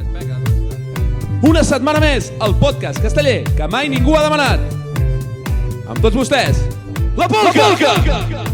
doncs, Una setmana més, el podcast casteller que mai ningú ha demanat. Amb tots vostès, la Polca! La polca!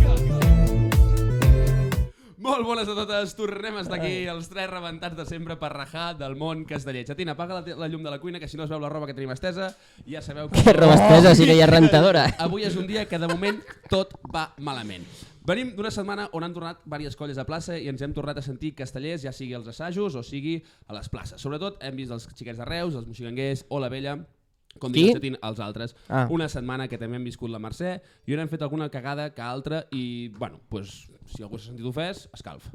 Molt bones a totes, tornem a estar aquí, els tres rebentats de sempre per rajar del món casteller. Xatina, apaga la, te- la llum de la cuina, que si no es veu la roba que tenim estesa, ja sabeu que... Que robes peses Eh. i no hi ha rentadora. Avui és un dia que de moment tot va malament. Venim d'una setmana on han tornat diverses colles a plaça i ens hem tornat a sentir castellers, ja sigui als assajos o sigui a les places. Sobretot hem vist els xiquets de Reus, els moxiganguers o la vella, com Qui? diu Chatín, els altres. Ah. Ah. Una setmana que també hem viscut la Mercè i on hem fet alguna cagada que altra i, bueno, pues, si algú s'ha sentit ofès, escalf.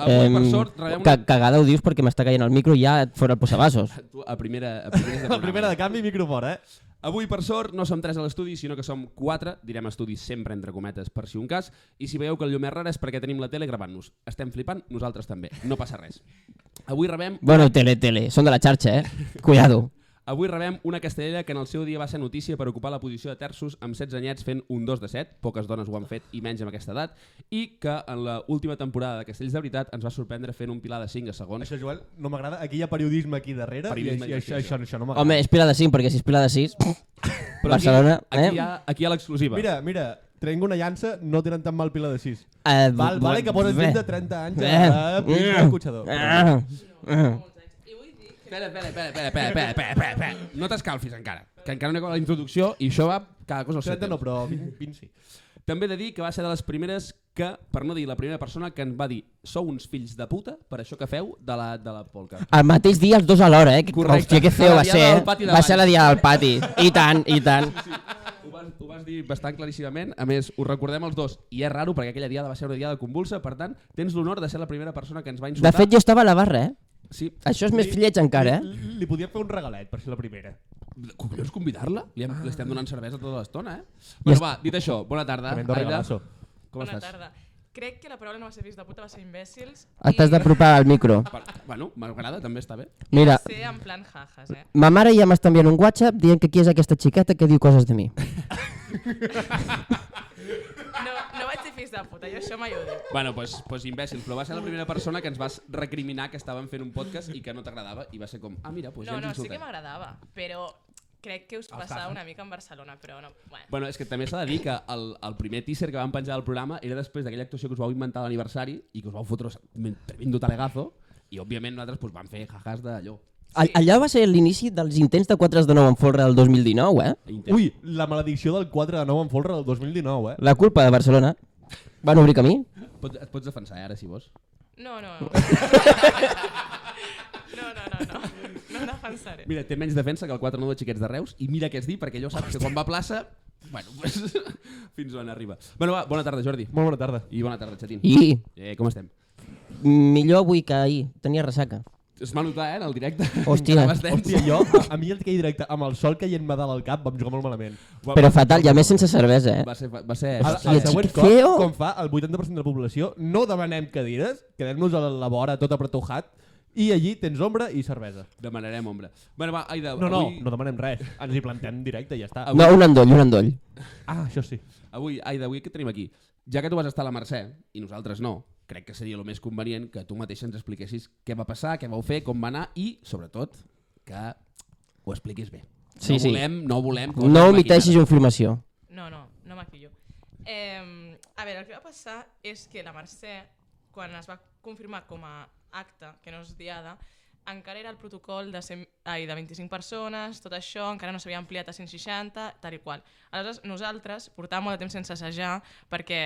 Avui, Em, Ah, per sort, rebem ca una... Cagada ho dius perquè m'està caient el micro i ja et fora el posavasos. Tu, A primera, a primera, La primera de canvi, microfort, eh? Avui, per sort, no som tres a l'estudi, sinó que som quatre, direm estudi sempre entre cometes per si un cas, i si veieu que el llum és rara és perquè tenim la tele gravant-nos. Estem flipant, nosaltres també, no passa res. Avui rebem, Bueno, tele, tele, són de la xarxa, eh? Cuidado. avui rebem una castellera que en el seu dia va ser notícia per ocupar la posició de terços amb 16 anyets fent un 2 de 7, poques dones ho han fet i menys amb aquesta edat, i que en la última temporada de Castells de Veritat ens va sorprendre fent un pilar de 5 a segons. Això, Joel, no m'agrada. Aquí hi ha periodisme aquí darrere. Periodisme i i això, això, això, això no m'agrada. Home, és pila de 5, perquè si és pila de 6... Però Barcelona, aquí, aquí eh? hi ha, aquí hi ha l'exclusiva. Mira, mira, trenc una llança, no tenen tan mal pila de 6. Eh, Val, bo- vale que poses bé. gent de 30 anys eh? Bé. a Mm. pintar cotxador. Ah, ah. Espera, espera, espera, espera, espera, espera, espera, espera, espera. No t'escalfis encara, que encara no he acabat la introducció i això va cada cosa al seu 30 no, temps. però 20, 20 sí. També he de dir que va ser de les primeres que, per no dir la primera persona, que ens va dir sou uns fills de puta per això que feu de la, de la polca. El mateix dia, els dos alhora, eh? Que- Correcte. Hòstia, que feo A la va diada ser, del eh? pati Va davant. ser la dia del pati. I tant, i tant. Ho vas, ho vas dir bastant claríssimament, a més, ho recordem els dos, i és raro perquè aquella diada va ser una diada convulsa, per tant, tens l'honor de ser la primera persona que ens va De insultar. fet, jo estava a la barra, eh? Sí. Això és més filleig encara, eh? Li, li podíem fer un regalet per ser la primera. Collons, convidar-la? Li hem, li estem donant cervesa tota l'estona, eh? Bueno, va, dit això, bona tarda. Ah. Tremendo regalazo. com Bona estàs? tarda. Crec que la paraula no va ser fills de puta, va ser imbècils. T'has d'apropar al micro. Per- Bueno, m'agrada, també està bé. Mira, Va ser en plan jajas, eh? ma mare ja m'està enviant un WhatsApp dient que qui és aquesta xiqueta que diu coses de mi. No, no vaig ser fills de puta, jo això mai ho dic. Bueno, pues, pues imbècil, però va ser la primera persona que ens vas recriminar que estàvem fent un podcast i que no t'agradava i va ser com, ah mira, pues ja No, ens no, sí insultem. que m'agradava, però crec que us passava una mica en Barcelona, però no, bueno. Bueno, és que també s'ha de dir que el, el primer teaser que vam penjar del programa era després d'aquella actuació que us vau inventar a l'aniversari i que us vau fotre un tremendo talegazo i òbviament nosaltres pues, vam fer jajas d'allò. All- Allà va ser l'inici dels intents de 4 de 9 en folre del 2019, eh? Intent. Ui, la maledicció del 4 de 9 en folre del 2019, eh? La culpa de Barcelona. Van obrir camí? Pots, et pots defensar eh, ara, si vols. No, no, no. No, no, no, no. No defensaré. Eh. Mira, té menys defensa que el 4-9 de Xiquets de Reus i mira què es dir, perquè allò saps que quan va a plaça... Bueno, pues, fins on arriba. Bueno, va, bona tarda, Jordi. Molt bona tarda. I bona tarda, Xatín. I Eh, com estem? millor avui que ahir. Tenia ressaca. Es va notar, eh, en el directe. Hòstia. Anaves dens. Hòstia, jo, a, a mi el que hi directe, amb el sol caient-me dalt al cap, vam jugar molt malament. Va, Però fatal, i a més sense cervesa, eh? Va ser... Va ser... El, Va ser el Hòstia, següent que cop, feo. com fa el 80% de la població, no demanem cadires, quedem-nos a la vora tot apretujat i allí tens ombra i cervesa. Demanarem ombra. Bueno, va, Aida, No, no, avui, no demanem res. Ens hi plantem directe i ja està. No, un endoll, un endoll. Ah, això sí. avui, Aida, avui què tenim aquí? Ja que tu vas estar a la Mercè, i nosaltres no, crec que seria el més convenient que tu mateix ens expliquessis què va passar, què vau fer, com va anar i, sobretot, que ho expliquis bé. Sí, no sí. volem, no volem... coses No maquinades. omiteixis informació. No, no, no maquillo. Eh, a veure, el que va passar és que la Mercè, quan es va confirmar com a acte, que no és diada, encara era el protocol de, 100, ai, de 25 persones, tot això, encara no s'havia ampliat a 160, tal i qual. Aleshores, nosaltres portàvem molt de temps sense assajar perquè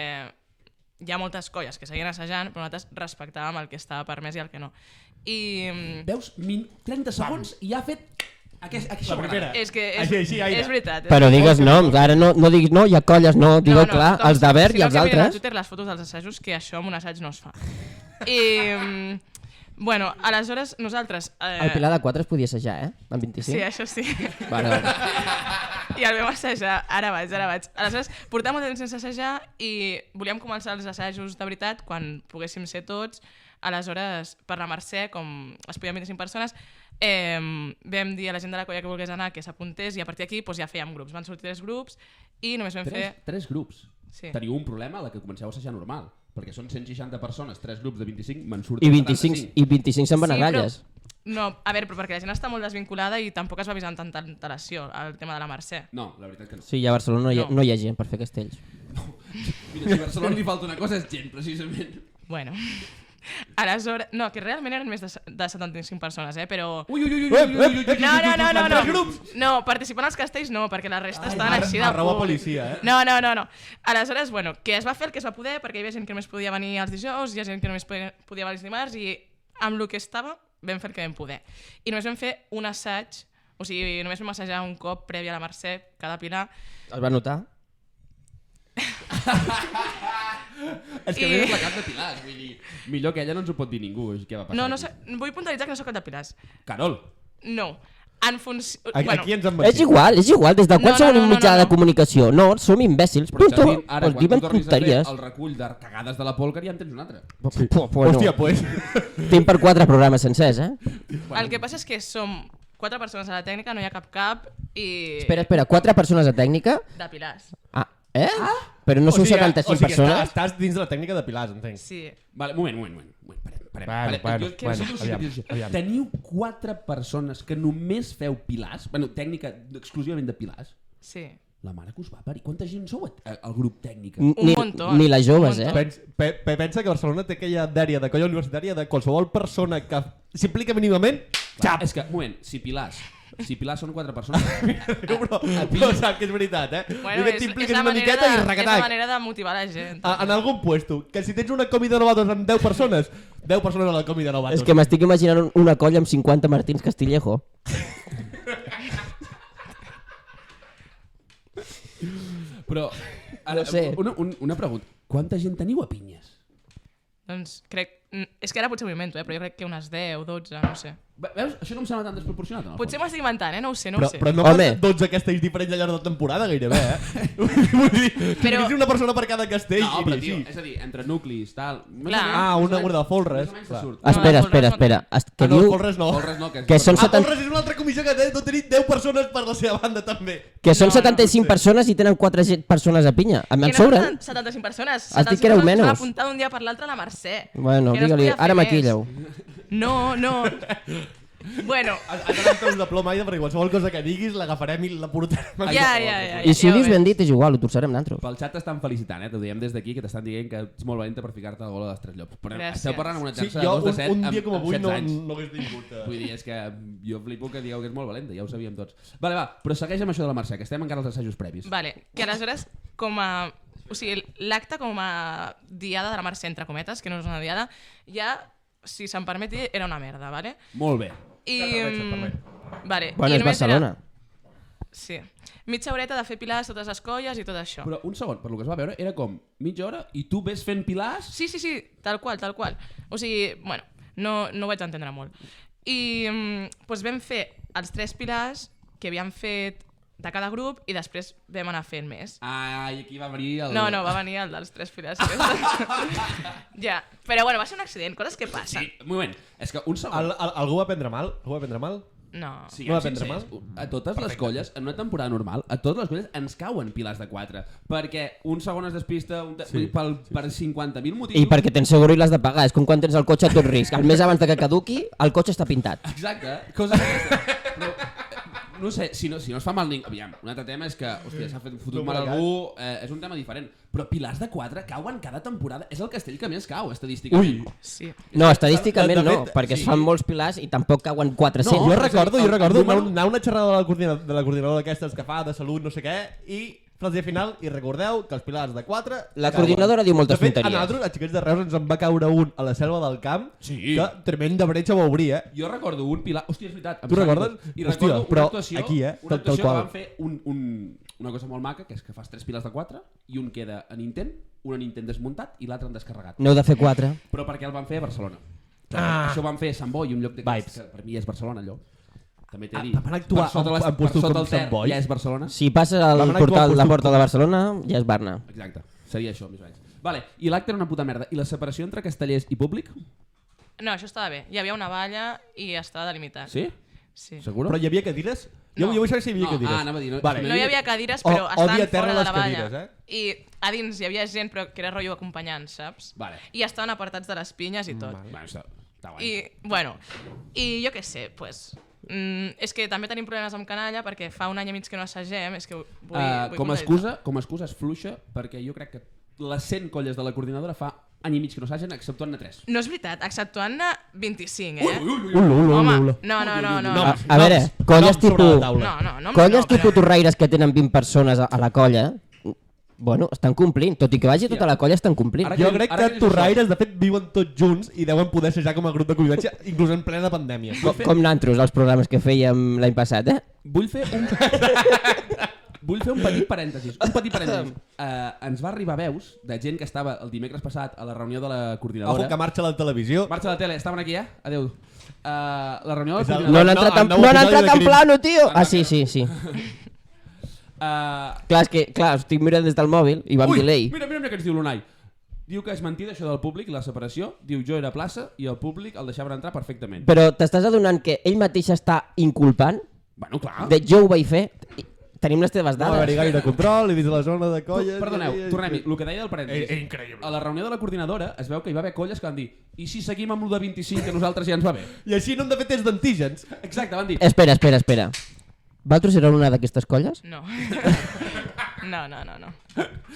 hi ha moltes colles que seguien assajant, però nosaltres respectàvem el que estava permès i el que no. I... mm, Veus? Min 30 segons i ja ha fet... Aquest, aquest La primera. És que és, Així, així, Aida. és veritat. és Però digues noms, ara no, no diguis no, hi ha colles, no, digueu clar, com els de si- verd i si eh, no, els que mirin A altres. Twitter les fotos dels assajos, que això amb un assaig no es fa. I, mm, bueno, aleshores nosaltres... Eh, El Pilar de 4 es podia assajar, eh? Amb Sí, 25. això sí. Vale, vale. I el vam assajar, ara vaig, ara vaig. Aleshores, portàvem molt de temps sense assajar i volíem començar els assajos de veritat quan poguéssim ser tots. Aleshores, per la Mercè, com es podien 25 persones, eh, vam dir a la gent de la colla que volgués anar que s'apuntés i a partir d'aquí doncs, ja fèiem grups. Van sortir tres grups i només vam Tres, fer... tres grups. Sí. Teniu un problema a la que comenceu a assajar normal. Perquè són 160 persones, tres grups de 25, me'n I surten 25, i 25 se'n van a galles. Però, no, a veure, però perquè la gent està molt desvinculada i tampoc es va avisar amb tanta antelació el tema de la Mercè. No, la veritat que no. Sí, ja a Barcelona no hi, ha, No. no hi ha gent per fer castells. Mira, si a Barcelona li falta una cosa és gent, precisament. Bueno, aleshores... No, que realment eren més de, se- de 75 persones, eh? Però... Ui, ui, ui, ui, Ep, ui, ui, ui, ui, ui, No, no, no, no, Altres no. grups. No, participant als castells no, perquè la resta estaven ar- així de... arreu a punt. policia, eh? No, no, no, no. Aleshores, bueno, que es va fer el que es va poder, perquè hi havia gent que només podia venir els dijous, hi ha gent que només podia, podia venir els dimarts, i amb el que estava vam fer el que vam poder. I només vam fer un assaig, o sigui, només vam assajar un cop previ a la Mercè, cada pilar, Es va notar? És que I- I... ve la cap de Pilars, vull dir... Millor que ella no ens ho pot dir ningú, és què va passar No, no aquí. sé, vull puntualitzar que no sóc cap de Pilars. Carol! No. En funció... Aquí, bueno, aquí ens han És igual, és igual, des de No, quan no, som no, un no, mitjà no, de no. comunicació? No, som imbècils. Però Punto. Jardín, ara, quan Pues tu diuen tornis a fer tonteries. el recull de cagades de la polca, ja en tens un altre. Sí. Puh, puh, Hòstia, no. pues... Tinc per quatre programes sencers, eh? El que passa és que som quatre persones a la tècnica, no hi ha cap cap i... Espera, espera, quatre persones a tècnica? De Pilars. Ah, eh? Però no són 75 o sigui, persones? Estàs, estàs dins de la tècnica de Pilars, entenc. Sí. Vale, moment, moment, moment. moment parem, parem, Bueno, parem. bueno, jo quiero bueno, saber aviam, si- aviam. Teniu quatre persones que només feu pilars, bueno, tècnica exclusivament de pilars, Sí. la mare que us va parir. Quanta gent sou a- al grup tècnic? Mm, N- Un ni, montón. ni les joves, Un eh? montón. Pens, pe, pe, pensa que Barcelona té aquella dèria de colla universitària de qualsevol persona que s'implica mínimament, Clar, És que, un moment, si pilars, si pilars són quatre persones, Diu, però, però sap que és veritat, eh? Bueno, que t'impliques la una manera miqueta de, i Ah. És la regatac. manera de motivar la gent. A- En algun puesto. Que si tens una comi de novatos amb 10 persones, 10 persones a la comi de novatos. És que m'estic imaginant un- una colla amb 50 Martins Castillejo. però... Ara, No sé. una, un, una pregunta. Quanta gent teniu a pinyes? Doncs crec... mm, És que ara potser m'ho invento, eh? però jo crec que unes 10, 12, no ho sé. Ah, Ve- Veus? Això no em sembla tan desproporcionat. en el Potser doncs. fons. m'estic inventant, eh? No ho sé, no però, ho sé. però no Home. fan 12 castells diferents al llarg de la temporada, gairebé, eh? Vull dir, però... Però- una persona per cada castell. No, i però, així. tio, és a dir, entre nuclis, tal... més Clar. o menys, Ah, més o una menys- guarda de folres, més o menys clar. se surt. Ah, Espera, les espera, folres no. espera. Es, que Ah, no, diu Folres no. Folres no, que és- Que són Ah, seten- Folres és una altra comissió que té, no tenir 10 persones per la seva banda, també. que són No, no, 75 persones i tenen 4 gent, persones a pinya. A mi Que em no sobren. són 75 persones. Ah, Has dit que éreu 75 persones menys. van apuntar d'un dia per l'altre a la Mercè. Bueno, Que no es digue-li, podia fer ara més. maquilleu. No, no. bueno, Has has d'anar amb peus de ploma, Aida, perquè qualsevol cosa que diguis l'agafarem i la portarem. aquí. ja, ja, ja. I si ja ho dius veus. ben dit és igual, ho torçarem naltros. Ah, Pel xat t'estan felicitant, eh? T'ho diem des d'aquí, que t'estan dient que ets molt valenta per ficar-te la bola dels tres llops. Però Gràcies. esteu parlant amb una Sí, xarxa jo de 2 un, de 7 un dia amb, com amb avui 16 no, anys. no hagués tingut. eh? Vull dir, és que jo flipo que digueu que és molt valenta, ja ho sabíem tots. Vale, va, però segueix amb això de la Mercè, que estem encara als assajos previs. Vale, que aleshores, com a... O sigui, l'acte com a diada de la Mercè, entre cometes, que no és una diada, ja, si se'n permet dir, era una merda, vale? Molt bé. I... se'n permet. mm, Vale. Bueno, I és només Barcelona. Era, sí. Mitja horeta de fer pilars, totes les colles i tot això. Però... Però un segon, per lo que es va veure, era com mitja hora i tu ves fent pilars... Sí, sí, sí, tal qual, tal qual. O sigui, bueno, no, no ho vaig entendre molt. I mm, doncs vam fer els tres pilars que havíem fet de cada grup i després vam anar fent més. Ai, aquí va venir el... No, no, va venir el dels tres filers. ja, però bueno, va ser un accident, coses que passen. Sí, un moment, és que un segon... Al, al, algú va prendre mal? Algú va prendre mal? No. Sí, No va siguem prendre sincers, A totes les colles, en una temporada normal, a totes les colles ens cauen pilars de 4, perquè un segon es despista un de... sí, pel, sí, per 50.000 motius. I perquè tens seguro i l'has de pagar. És com quan tens el cotxe a tot risc. El mes abans de que caduqui, el cotxe està pintat. Exacte, cosa d'aquesta. Però, eh, no sé, si no, si no es fa mal ningú... Aviam, un altre tema és que, hòstia, s'ha fet fotut No mal a plegat. algú, eh, és un tema diferent. Però pilars de 4 cauen cada temporada. És el castell que més cau, estadísticament. Ui, Sí. No, estadísticament De- de no, fet, perquè es sí. fan molts pilars i tampoc cauen 400. No, Jo és a dir, recordo, jo el recordo número- anar, anar a una xerrada de la, coordina, de la coordinadora d'aquestes que fa de salut, no sé què, i frase final, i recordeu que els pilars de 4... La coordinadora diu moltes de fet, tonteries. a nosaltres, a Xiquets de Reus, ens en va caure un a la selva del camp, Sí. que tremenda bretxa va obrir, eh? Jo recordo un pilar... Hòstia, és veritat. em Tu sap recordes? greu. I Hòstia, recordo una però actuació, aquí, eh? Una Tal- tal actuació qual. que van fer un, un, una cosa molt maca, que és que fas tres pilars de quatre i un queda en intent, un en intent desmuntat i l'altre en descarregat. N'heu de fer 4. Però perquè el van fer a Barcelona. Mm. Ah. Això ho van fer a Sant Boi, un lloc Vibes. d'aquests que per mi és Barcelona, allò. També t'he Ah, dit. van actuar per sota, en- les, en puestos per sota com el Ter, Sant Boi? ja és Barcelona. Si passes al Demanar portal que de ho Porta de Barcelona, ja és Barna. Exacte, seria això, més o menys. Vale, i l'acte era una puta merda. I la separació entre castellers i públic? No, això estava bé. Hi havia una valla i estava delimitat. Sí? Sí. Seguro? Però hi havia cadires? Jo, No. jo vull saber si hi havia No, cadires. ah, anava a dir, no- vale. No hi havia cadires, O- però estaven odia terra fora de les la valla. cadires, eh? I a dins hi havia gent, però que era rotllo acompanyant, saps? Vale. I estaven apartats de les pinyes i tot. Bueno, està, està guai. I, bueno, i jo què sé, pues, mm, és que també tenim problemes amb canalla perquè fa un any i mig que no assagem, és que ho- vull, Eh, vull com, a contradir- excusa, com a excusa és fluixa perquè jo crec que les 100 colles de la coordinadora fa any i mig que no s'hagen, exceptuant-ne 3. No és veritat, exceptuant-ne 25, eh? Ulu, ulu, Home, ulu. no, no, no, no. No, A, no. a veure, colles sobre la tipus... taula. No, no, no, colles no, tipus però- torraires que tenen 20 persones a, a la colla, bueno, estan complint. Tot i que vagi tota la colla, estan complint. Ara Jo que- crec ara que que dius torraires, de fet, viuen tots junts i deuen poder ser ja com a grup de convivència, inclús en plena pandèmia. Com, com nantros, els programes que fèiem l'any passat, eh? Ah, Vull fer un... Vull fer un petit parèntesis. Un petit parèntesis. Uh, ens va arribar veus de gent que estava el dimecres passat a la reunió de la Ojo, coordinadora. que marxa la televisió. Marxa la tele, estaven aquí, eh? Adéu. Uh, la reunió de És la el- No coordinadora... han entrat, no, el en, nou no han episodi entrat de en Grimm. plano, tio! Ah, sí, sí, sí. Uh, Clar, és que, clar, estic mirant des del mòbil i va amb ui, delay. mira, mira, mira què ens diu l'Unai. Diu que és mentida això del públic, la separació. Diu jo era a plaça i el públic el deixaven entrar perfectament. Però t'estàs adonant que ell mateix està inculpant? Bueno, Ah. clar. De jo ho vaig fer? I- Tenim les teves No va haver-hi dades. gaire control i dins de la zona de colles... Perdoneu, tornem-hi. El que deia del parèntesis. Eh, eh, increïble. A la reunió de la coordinadora es veu que hi va haver colles que van dir i si seguim amb el de 25 que a nosaltres ja ens va bé. I així no hem de fer tests d'antígens. Exacte, van dir. Eh, Espera, espera, espera. Valtros era una d'aquestes colles? No. no, no, no, no.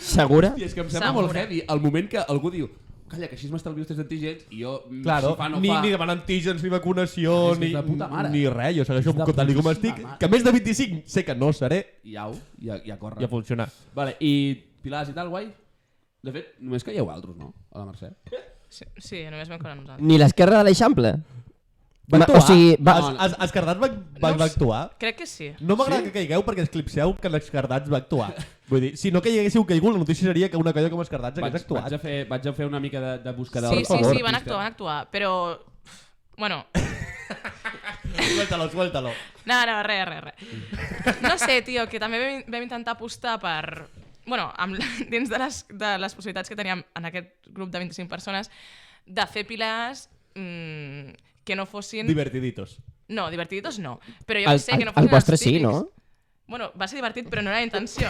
Segura? I és que em sembla molt Segura. heavy el moment que algú diu calla, que així m'estalvio els tests d'antígens i jo mm, Claro, si fa no ni, fa... ni demanar antígens, ni vacunació, És que ni, és de puta mare. ni res. Jo segueixo És de amb tal i com putíssima estic, mare. que més de 25 sé que no seré. I au, ja, ja corre. Ja funciona. Vale, i Pilars i tal, guai? De fet, només que hi ha altres, no? A la Mercè. Sí, sí només vam colar nosaltres. Ni l'esquerra de l'Eixample? Va Ma- actuar? ah. o sigui, va, Es, es, Escardats va, va, No ho va sé. actuar? Crec que sí. No m'agrada que caigueu perquè esclipseu que l'Escardats va actuar. Vull dir, si no que hi haguéssiu caigut, la notícia seria que una colla com Escardats hagués actuat. vaig, a fer, vaig a fer una mica de, de busca de Sí, sí, favor, sí, van actuar, van actuar, però... Bueno, Suéltalo, suéltalo. no, no, res, res, res. No sé, tio, que també vam, vam intentar apostar per... Bueno, amb, la- dins de les, de les possibilitats que teníem en aquest grup de 25 persones, de fer pilars mmm, que no fossin... Divertiditos. No, divertiditos no. Però Ah, el, jo que sé, que el, no el fossin vostre els sí, típics. no? Bueno, va ser divertit, però no era la intenció.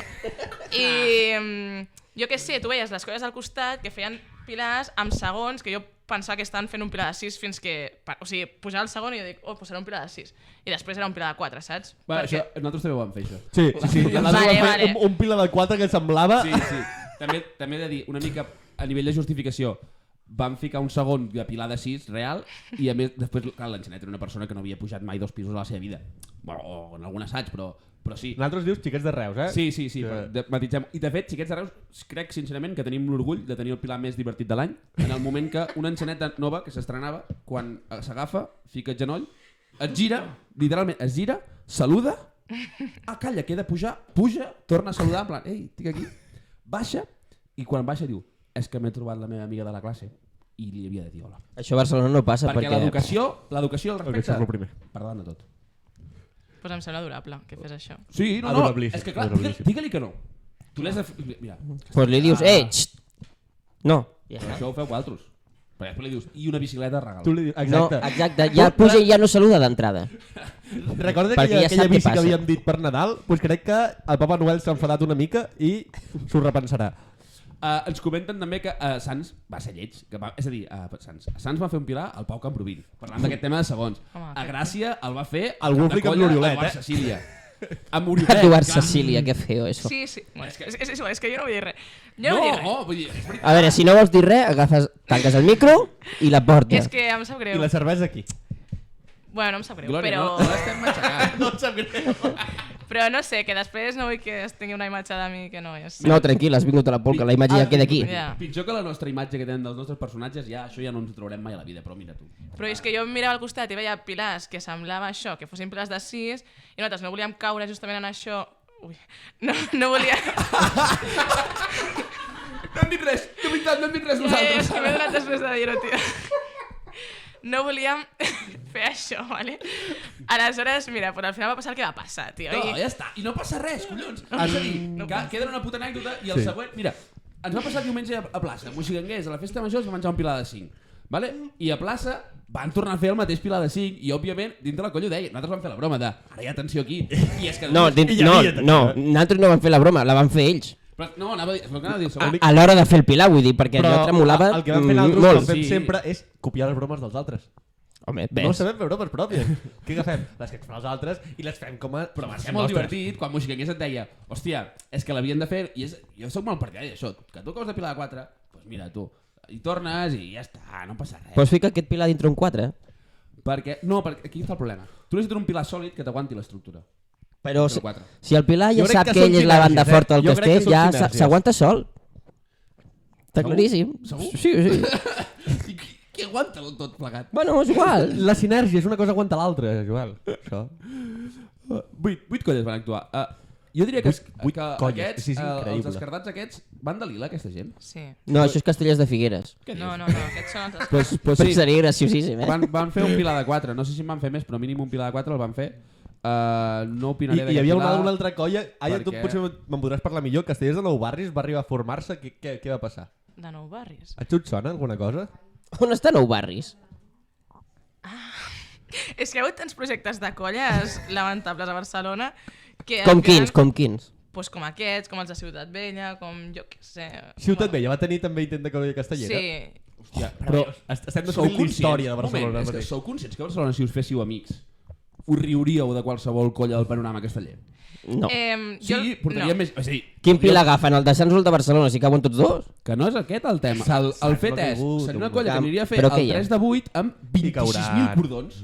I mm, jo què sé, tu veies les colles al costat que feien pilars amb segons, que jo pensava que estaven fent un pilar de 6 fins que... pa- O sigui, pujar al segon i jo dic, oh, pues serà un pilar de 6. I després era un pilar de 4, saps? Va, això, nosaltres també ho vam fer, això. Sí, sí, sí. Vale, L'altre va fer vale. un, un pila de quatre que semblava... Sí, sí. També, també he de dir, una mica a nivell de justificació, van ficar un segon de Pilar de 6 real i a més després, clar, l'Enxanet era una persona que no havia pujat mai dos pisos a la seva vida. Bueno, o en algun assaig, però, però sí. Nosaltres dius xiquets de Reus, eh? Sí, sí, sí, Sí. però de- matitzem. I de fet, xiquets de Reus, crec sincerament que tenim l'orgull de tenir el pilar més divertit de l'any en el moment que una enxaneta nova que s'estrenava, quan eh, s'agafa, fica el genoll, es gira, literalment, es gira, saluda, ah, calla, que he de pujar, puja, torna a saludar, en plan, ei, estic aquí, baixa, i quan baixa diu, és que m'he trobat la meva amiga de la classe i li havia de dir hola. Això a Barcelona no passa Perquè perquè... l'educació, l'educació, el Perquè això és el respecte, primer. per davant de tot. Pues em sembla adorable que fes això. Sí, no, no, Adorablíssim, és que clar, digue- adorablíssim. digue-li que no. Tu l'has de... fer- Mira, Pues li dius, Ah. eh, xt. No. Ja Però està. això ho feu vosaltres. Perquè després li dius, i una bicicleta regala. Tu li dius... Exacte. No, exacte, ja puja i ja no saluda d'entrada. Recorda Perquè aquella, ja sap aquella què bici que passa. havíem dit per Nadal? Doncs pues crec que el Papa Noel s'ha enfadat una mica i s'ho repensarà. Uh, ens comenten també que uh, Sants va ser lleig. Que va, és a dir, uh, Sants, Sants va fer un pilar al Pau Camprovín, parlant d'aquest tema de segons. Home, a Gràcia el va fer El Wolfric amb l'Oriolet, Eduard eh? Cecília. Amb Oriolet. Eduard clar. Cecília, que feo eso. Sí, sí. Bueno, és, que, és, és, igual, és que jo no vull dir res. Jo No, no, vull dir res. no, vull dir, és veritat. A veure, si no vols dir res, agafes, tanques el micro i la porta. És que em sap I greu. la cervesa aquí. Bueno, no em sap greu, Glòria, però... no, no l'estem matxacant. No em sap greu. Però no sé, que després no vull que es tingui una imatge de mi que no és. No, tranquil, has vingut a la polca, la imatge ja queda aquí. Ja. Pitjor que la nostra imatge que tenen dels nostres personatges, ja això ja no ens ho trobarem mai a la vida, però mira tu. Però és que jo em mirava al costat i veia pilars que semblava això, que fossin pilars de sis, i nosaltres no volíem caure justament en això. Ui, no, no volia... No hem dit res, de veritat, no hem dit res Eh, és que nosaltres. m'he donat després de dir-ho, tio. No volíem fer això, vale? Aleshores, mira, però al final va passar el que va passar, tio. No, I... ja està. I no passa res, collons. És a dir, que queda una puta anècdota i el Sí. següent... Mira, ens va passar diumenge a, a plaça, a Moixiganguers, a la festa major es va menjar un pilar de 5. Vale? I a plaça van tornar a fer el mateix Pilar de 5 i, òbviament, dintre la colla ho deia. Nosaltres vam fer la broma de ara hi ha tensió aquí. I és que... No, dins, hi no, havia tensió, no, eh? nosaltres no vam fer la broma, la van fer ells. Però, no, anava a dir... Però, anava a dir A, segon. a l'hora de fer el pilar, vull dir, perquè jo tremolava mm, el que van fent altres, molt. que fem sí. sempre, és copiar les bromes dels altres. Home, No ves. sabem fer bromes pròpies. Què agafem? Les que ens fan els altres i les fem com a... Però va ser molt divertit quan Moixigangués et deia hòstia, és que l'havien de fer i és... jo sóc molt partidari d'això, que tu acabes de pilar de 4 doncs mira tu, hi tornes i ja està, no passa res. Pots ficar aquest pilar dintre un 4? Perquè, no, perquè aquí està el problema. Tu necessites un pilar sòlid que t'aguanti l'estructura. Però Dintre si, quatre. si el Pilar Jo ja crec sap que que, són ell és la banda sinergies, eh? forta del Jo crec que castell, són ja s'ha- sinergies. s'aguanta sol. Està Segur? claríssim. Segur? Sí, sí. I qui, qui aguanta el tot plegat? bueno, és igual. La sinèrgia és una cosa aguanta l'altra, Joel. Això. Vuit, vuit colles van actuar. Uh, jo diria que, Vuit- vuit que colles, aquests, sí, és eh, increïble. els escardats aquests, van de lila, aquesta gent? Sí. No, això és Castellers de Figueres. No, no, no, aquests són altres. Pues, pues Però seria graciosíssim, eh? Van, van fer un pilar de 4, no sé si en van fer més, però mínim un pilar de 4 el van fer. Uh, no I, opinaré i hi havia una, d'aquest una altra colla... Ai, tu Perquè- potser me'n podràs parlar millor. Castellers de Nou Barris va arribar a formar-se. Què, què, què va passar? De nou barris. A tu et sona alguna cosa? On està Nou Barris? És que hi ha hagut tants projectes de colles lamentables a Barcelona que... al Com final- quins, com quins. Pues com aquests, com els de Ciutat Vella, com jo què sé... Ciutat Vella va tenir també intent de colla castellera. Sí, Hòstia, Però est- estem sou descobrint la conscients, història de un Barcelona. moment, és que mateix. sou conscients que a Barcelona si us féssiu amics us riuríeu de qualsevol colla del panorama casteller. No. Eh, Sí, jo, portaria no. més... És a dir, Quin podríem- Pilar agafen? El de Sant Sol de Barcelona, si cauen tots dos? Que no és aquest el tema. El, el s'ha fet és, caigut, seria una un colla que camp. aniria a fer Però el què hi ha? 3 de 8 amb I cauran. 26.000 cordons.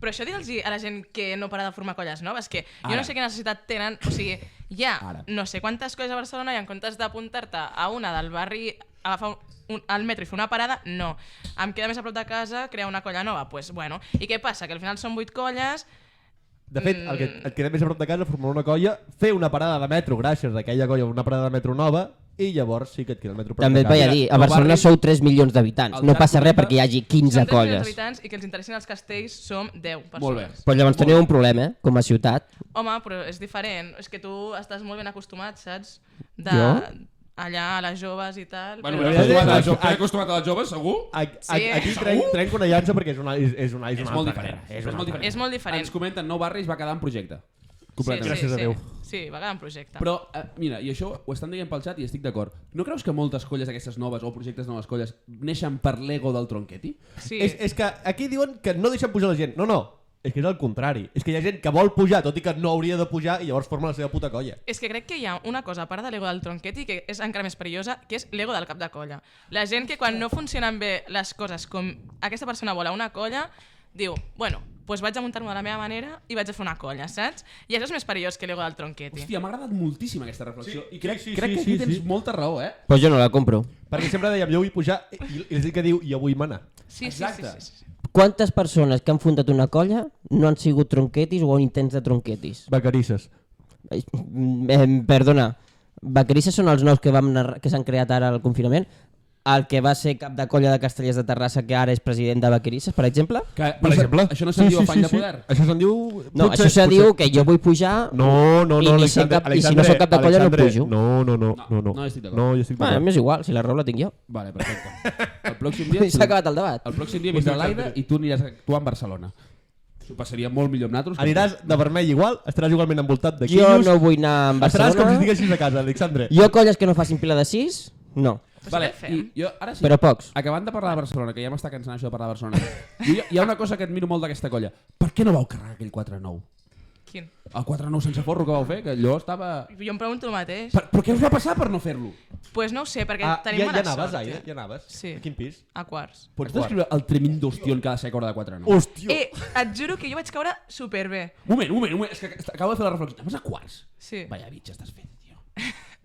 Però això digue'ls a la gent que no para de formar colles noves, que jo Ara. no sé quina necessitat tenen, o sigui, hi ha Ara. no sé quantes colles a Barcelona i en comptes d'apuntar-te a una del barri, agafar un, un, el metro i fer una parada, no. Em queda més a prop de casa crear una colla nova, pues, bueno. I què passa? Que al final són vuit colles, De fet, el que et queda més a prop de casa, formar una colla, fer una parada de metro, gràcies a aquella colla, una parada de metro nova, i llavors sí que et queda el metro a prop També de et vaig casa. a dir, a Nou Barcelona Barris- sou 3 milions d'habitants. El No Llac passa res Correcte- perquè hi hagi són 15 tres milions colles. habitants i que els interessin els castells som 10 persones. Molt bé. Però llavors teniu un problema, eh? Com a ciutat. Home, però és diferent. És que tu estàs molt ben acostumat, saps? De... Jo? Allà, a les joves i tal. Bueno, però però- la veritat acostumat, a la és- jo- estic acostumat a la jove, segur? A, a, Sí. aquí trenc, trenc una llança perquè és una, és, és una, és És una molt altra diferent. cosa. És una molt altra diferent. És molt diferent. Ens comenten, Nou Barris va quedar en projecte. Completament. Sí, sí, Gràcies a sí. Déu. Sí, va quedar en projecte. Però, eh, mira, i això ho estan dient pel xat i estic d'acord. No creus que moltes colles aquestes noves o projectes noves colles neixen per l'ego del tronqueti? sí. És, és que aquí diuen que no deixen pujar la gent. No, no, és que és el contrari. És que hi ha gent que vol pujar, tot i que no hauria de pujar, i llavors forma la seva puta colla. És que crec que hi ha una cosa, a part de l'ego del tronqueti, que és encara més perillosa, que és l'ego del cap de colla. La gent que quan no funcionen bé les coses com aquesta persona vol a una colla, diu, bueno, doncs vaig a muntar-me de la meva manera i vaig a fer una colla, saps? I això és més perillós que l'ego del tronqueti. Hòstia, m'ha agradat moltíssim aquesta reflexió. Sí, I crec, sí, sí, crec sí, que aquí sí, tens sí. molta raó, eh? Però jo no la compro. Perquè sempre dèiem, jo vull pujar, i, i la gent que diu, jo vull manar. Sí, sí, sí, Exacte. sí, sí, sí. Quantes persones que han fundat una colla no han sigut tronquetis o intents de tronquetis? Vacarisses. Eh, eh, perdona, Vacarisses són els nous que vam narrar- que s'han creat ara al confinament? El que va ser cap de colla de Castellers de Terrassa, que ara és president de Vacarisses, per exemple? Que, però Això no se'n diu afany de poder. Això se'n diu... No, potser- això se potser- diu que jo vull pujar... No, no, I- no, i Alexandre, ser cap- i si Alexandre, no sóc cap de colla, no Alexandre, pujo. No, no, no, no, no. no estic d'acord. No, jo estic Bueno, d'acord. m'és igual, si la raó la tinc jo. Vale, perfecte. El pròxim dia... S'ha acabat el debat. El pròxim dia vindrà l'Aida i tu aniràs a actuar en Barcelona. S'ho passaria molt millor amb nosaltres. Aniràs de vermell igual, estaràs igualment envoltat de Jo quillos, no vull anar a estaràs com si Barcelona. estiguessis a casa, Alexandre. Jo colles que no facin pila de 6, no. Pues Vale, què fem? i jo ara sí. Però pocs. Acabant de parlar de Barcelona, que ja m'està cansant això de parlar de Barcelona, jo, hi ha una cosa que admiro molt d'aquesta colla. Per què no vau carregar aquell 4-9? Quin? El 4-9 sense forro que vau fer, que allò estava... Jo em pregunto el mateix. Per, però què us va passar per no fer-lo? Doncs pues no ho sé, perquè Ah, ja, tenim ja mala anaves, sort. Aida, eh? ja anaves. Sí. A quin pis? A quarts. Pots descriure el tremendo ostió en cada secorda de 4-9? Hòstia! Eh, et juro que jo vaig caure superbé. Un moment, un moment, un moment, és que acabo de fer la reflexió. Anaves a quarts? Sí. Vaya bitxa estàs fent, tio.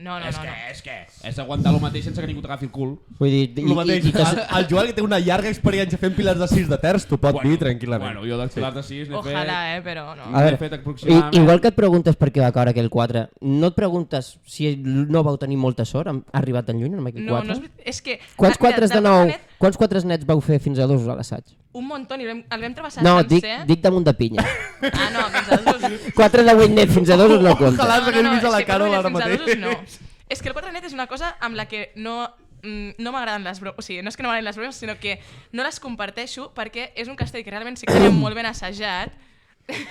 No, no, és no, que, no. és que... És aguantar el mateix sense que ningú t'agafi el cul. Vull dir, i, El mateix, i, i, que, Ah, el, el Joan que té una llarga experiència fent pilars de 6 de terç, t'ho pot dir tranquil·lament. Bueno, jo dels pilars de Ah, 6 n'he fet... Ojalá, eh, però no. A N'he veure, fet I, aproximadament... igual que et preguntes per què va caure aquell 4, no et preguntes si no vau tenir molta sort, ha arribat tan lluny amb aquell No, 4? no és, veri- és que... Quants Ah, mira, 4 de del nou, Mohamed, quants 4 nets vau fer fins a dos a l'assaig? Un montón, i el vam, el vam travessar No, dic, sencer. dic damunt de pinya. Ah, no, fins a dos. 4 de 8 nets fins a dos no compta. Ojalà. Abans hagués vist a la és que Carol quatre ara nets fins a mateix. dosos No. És que el 4 net és una cosa amb la que no mm, no m'agraden les bromes, o sigui, no és que no m'agraden les bromes, sinó que no les comparteixo perquè és un castell que realment sí que tenia molt ben assajat.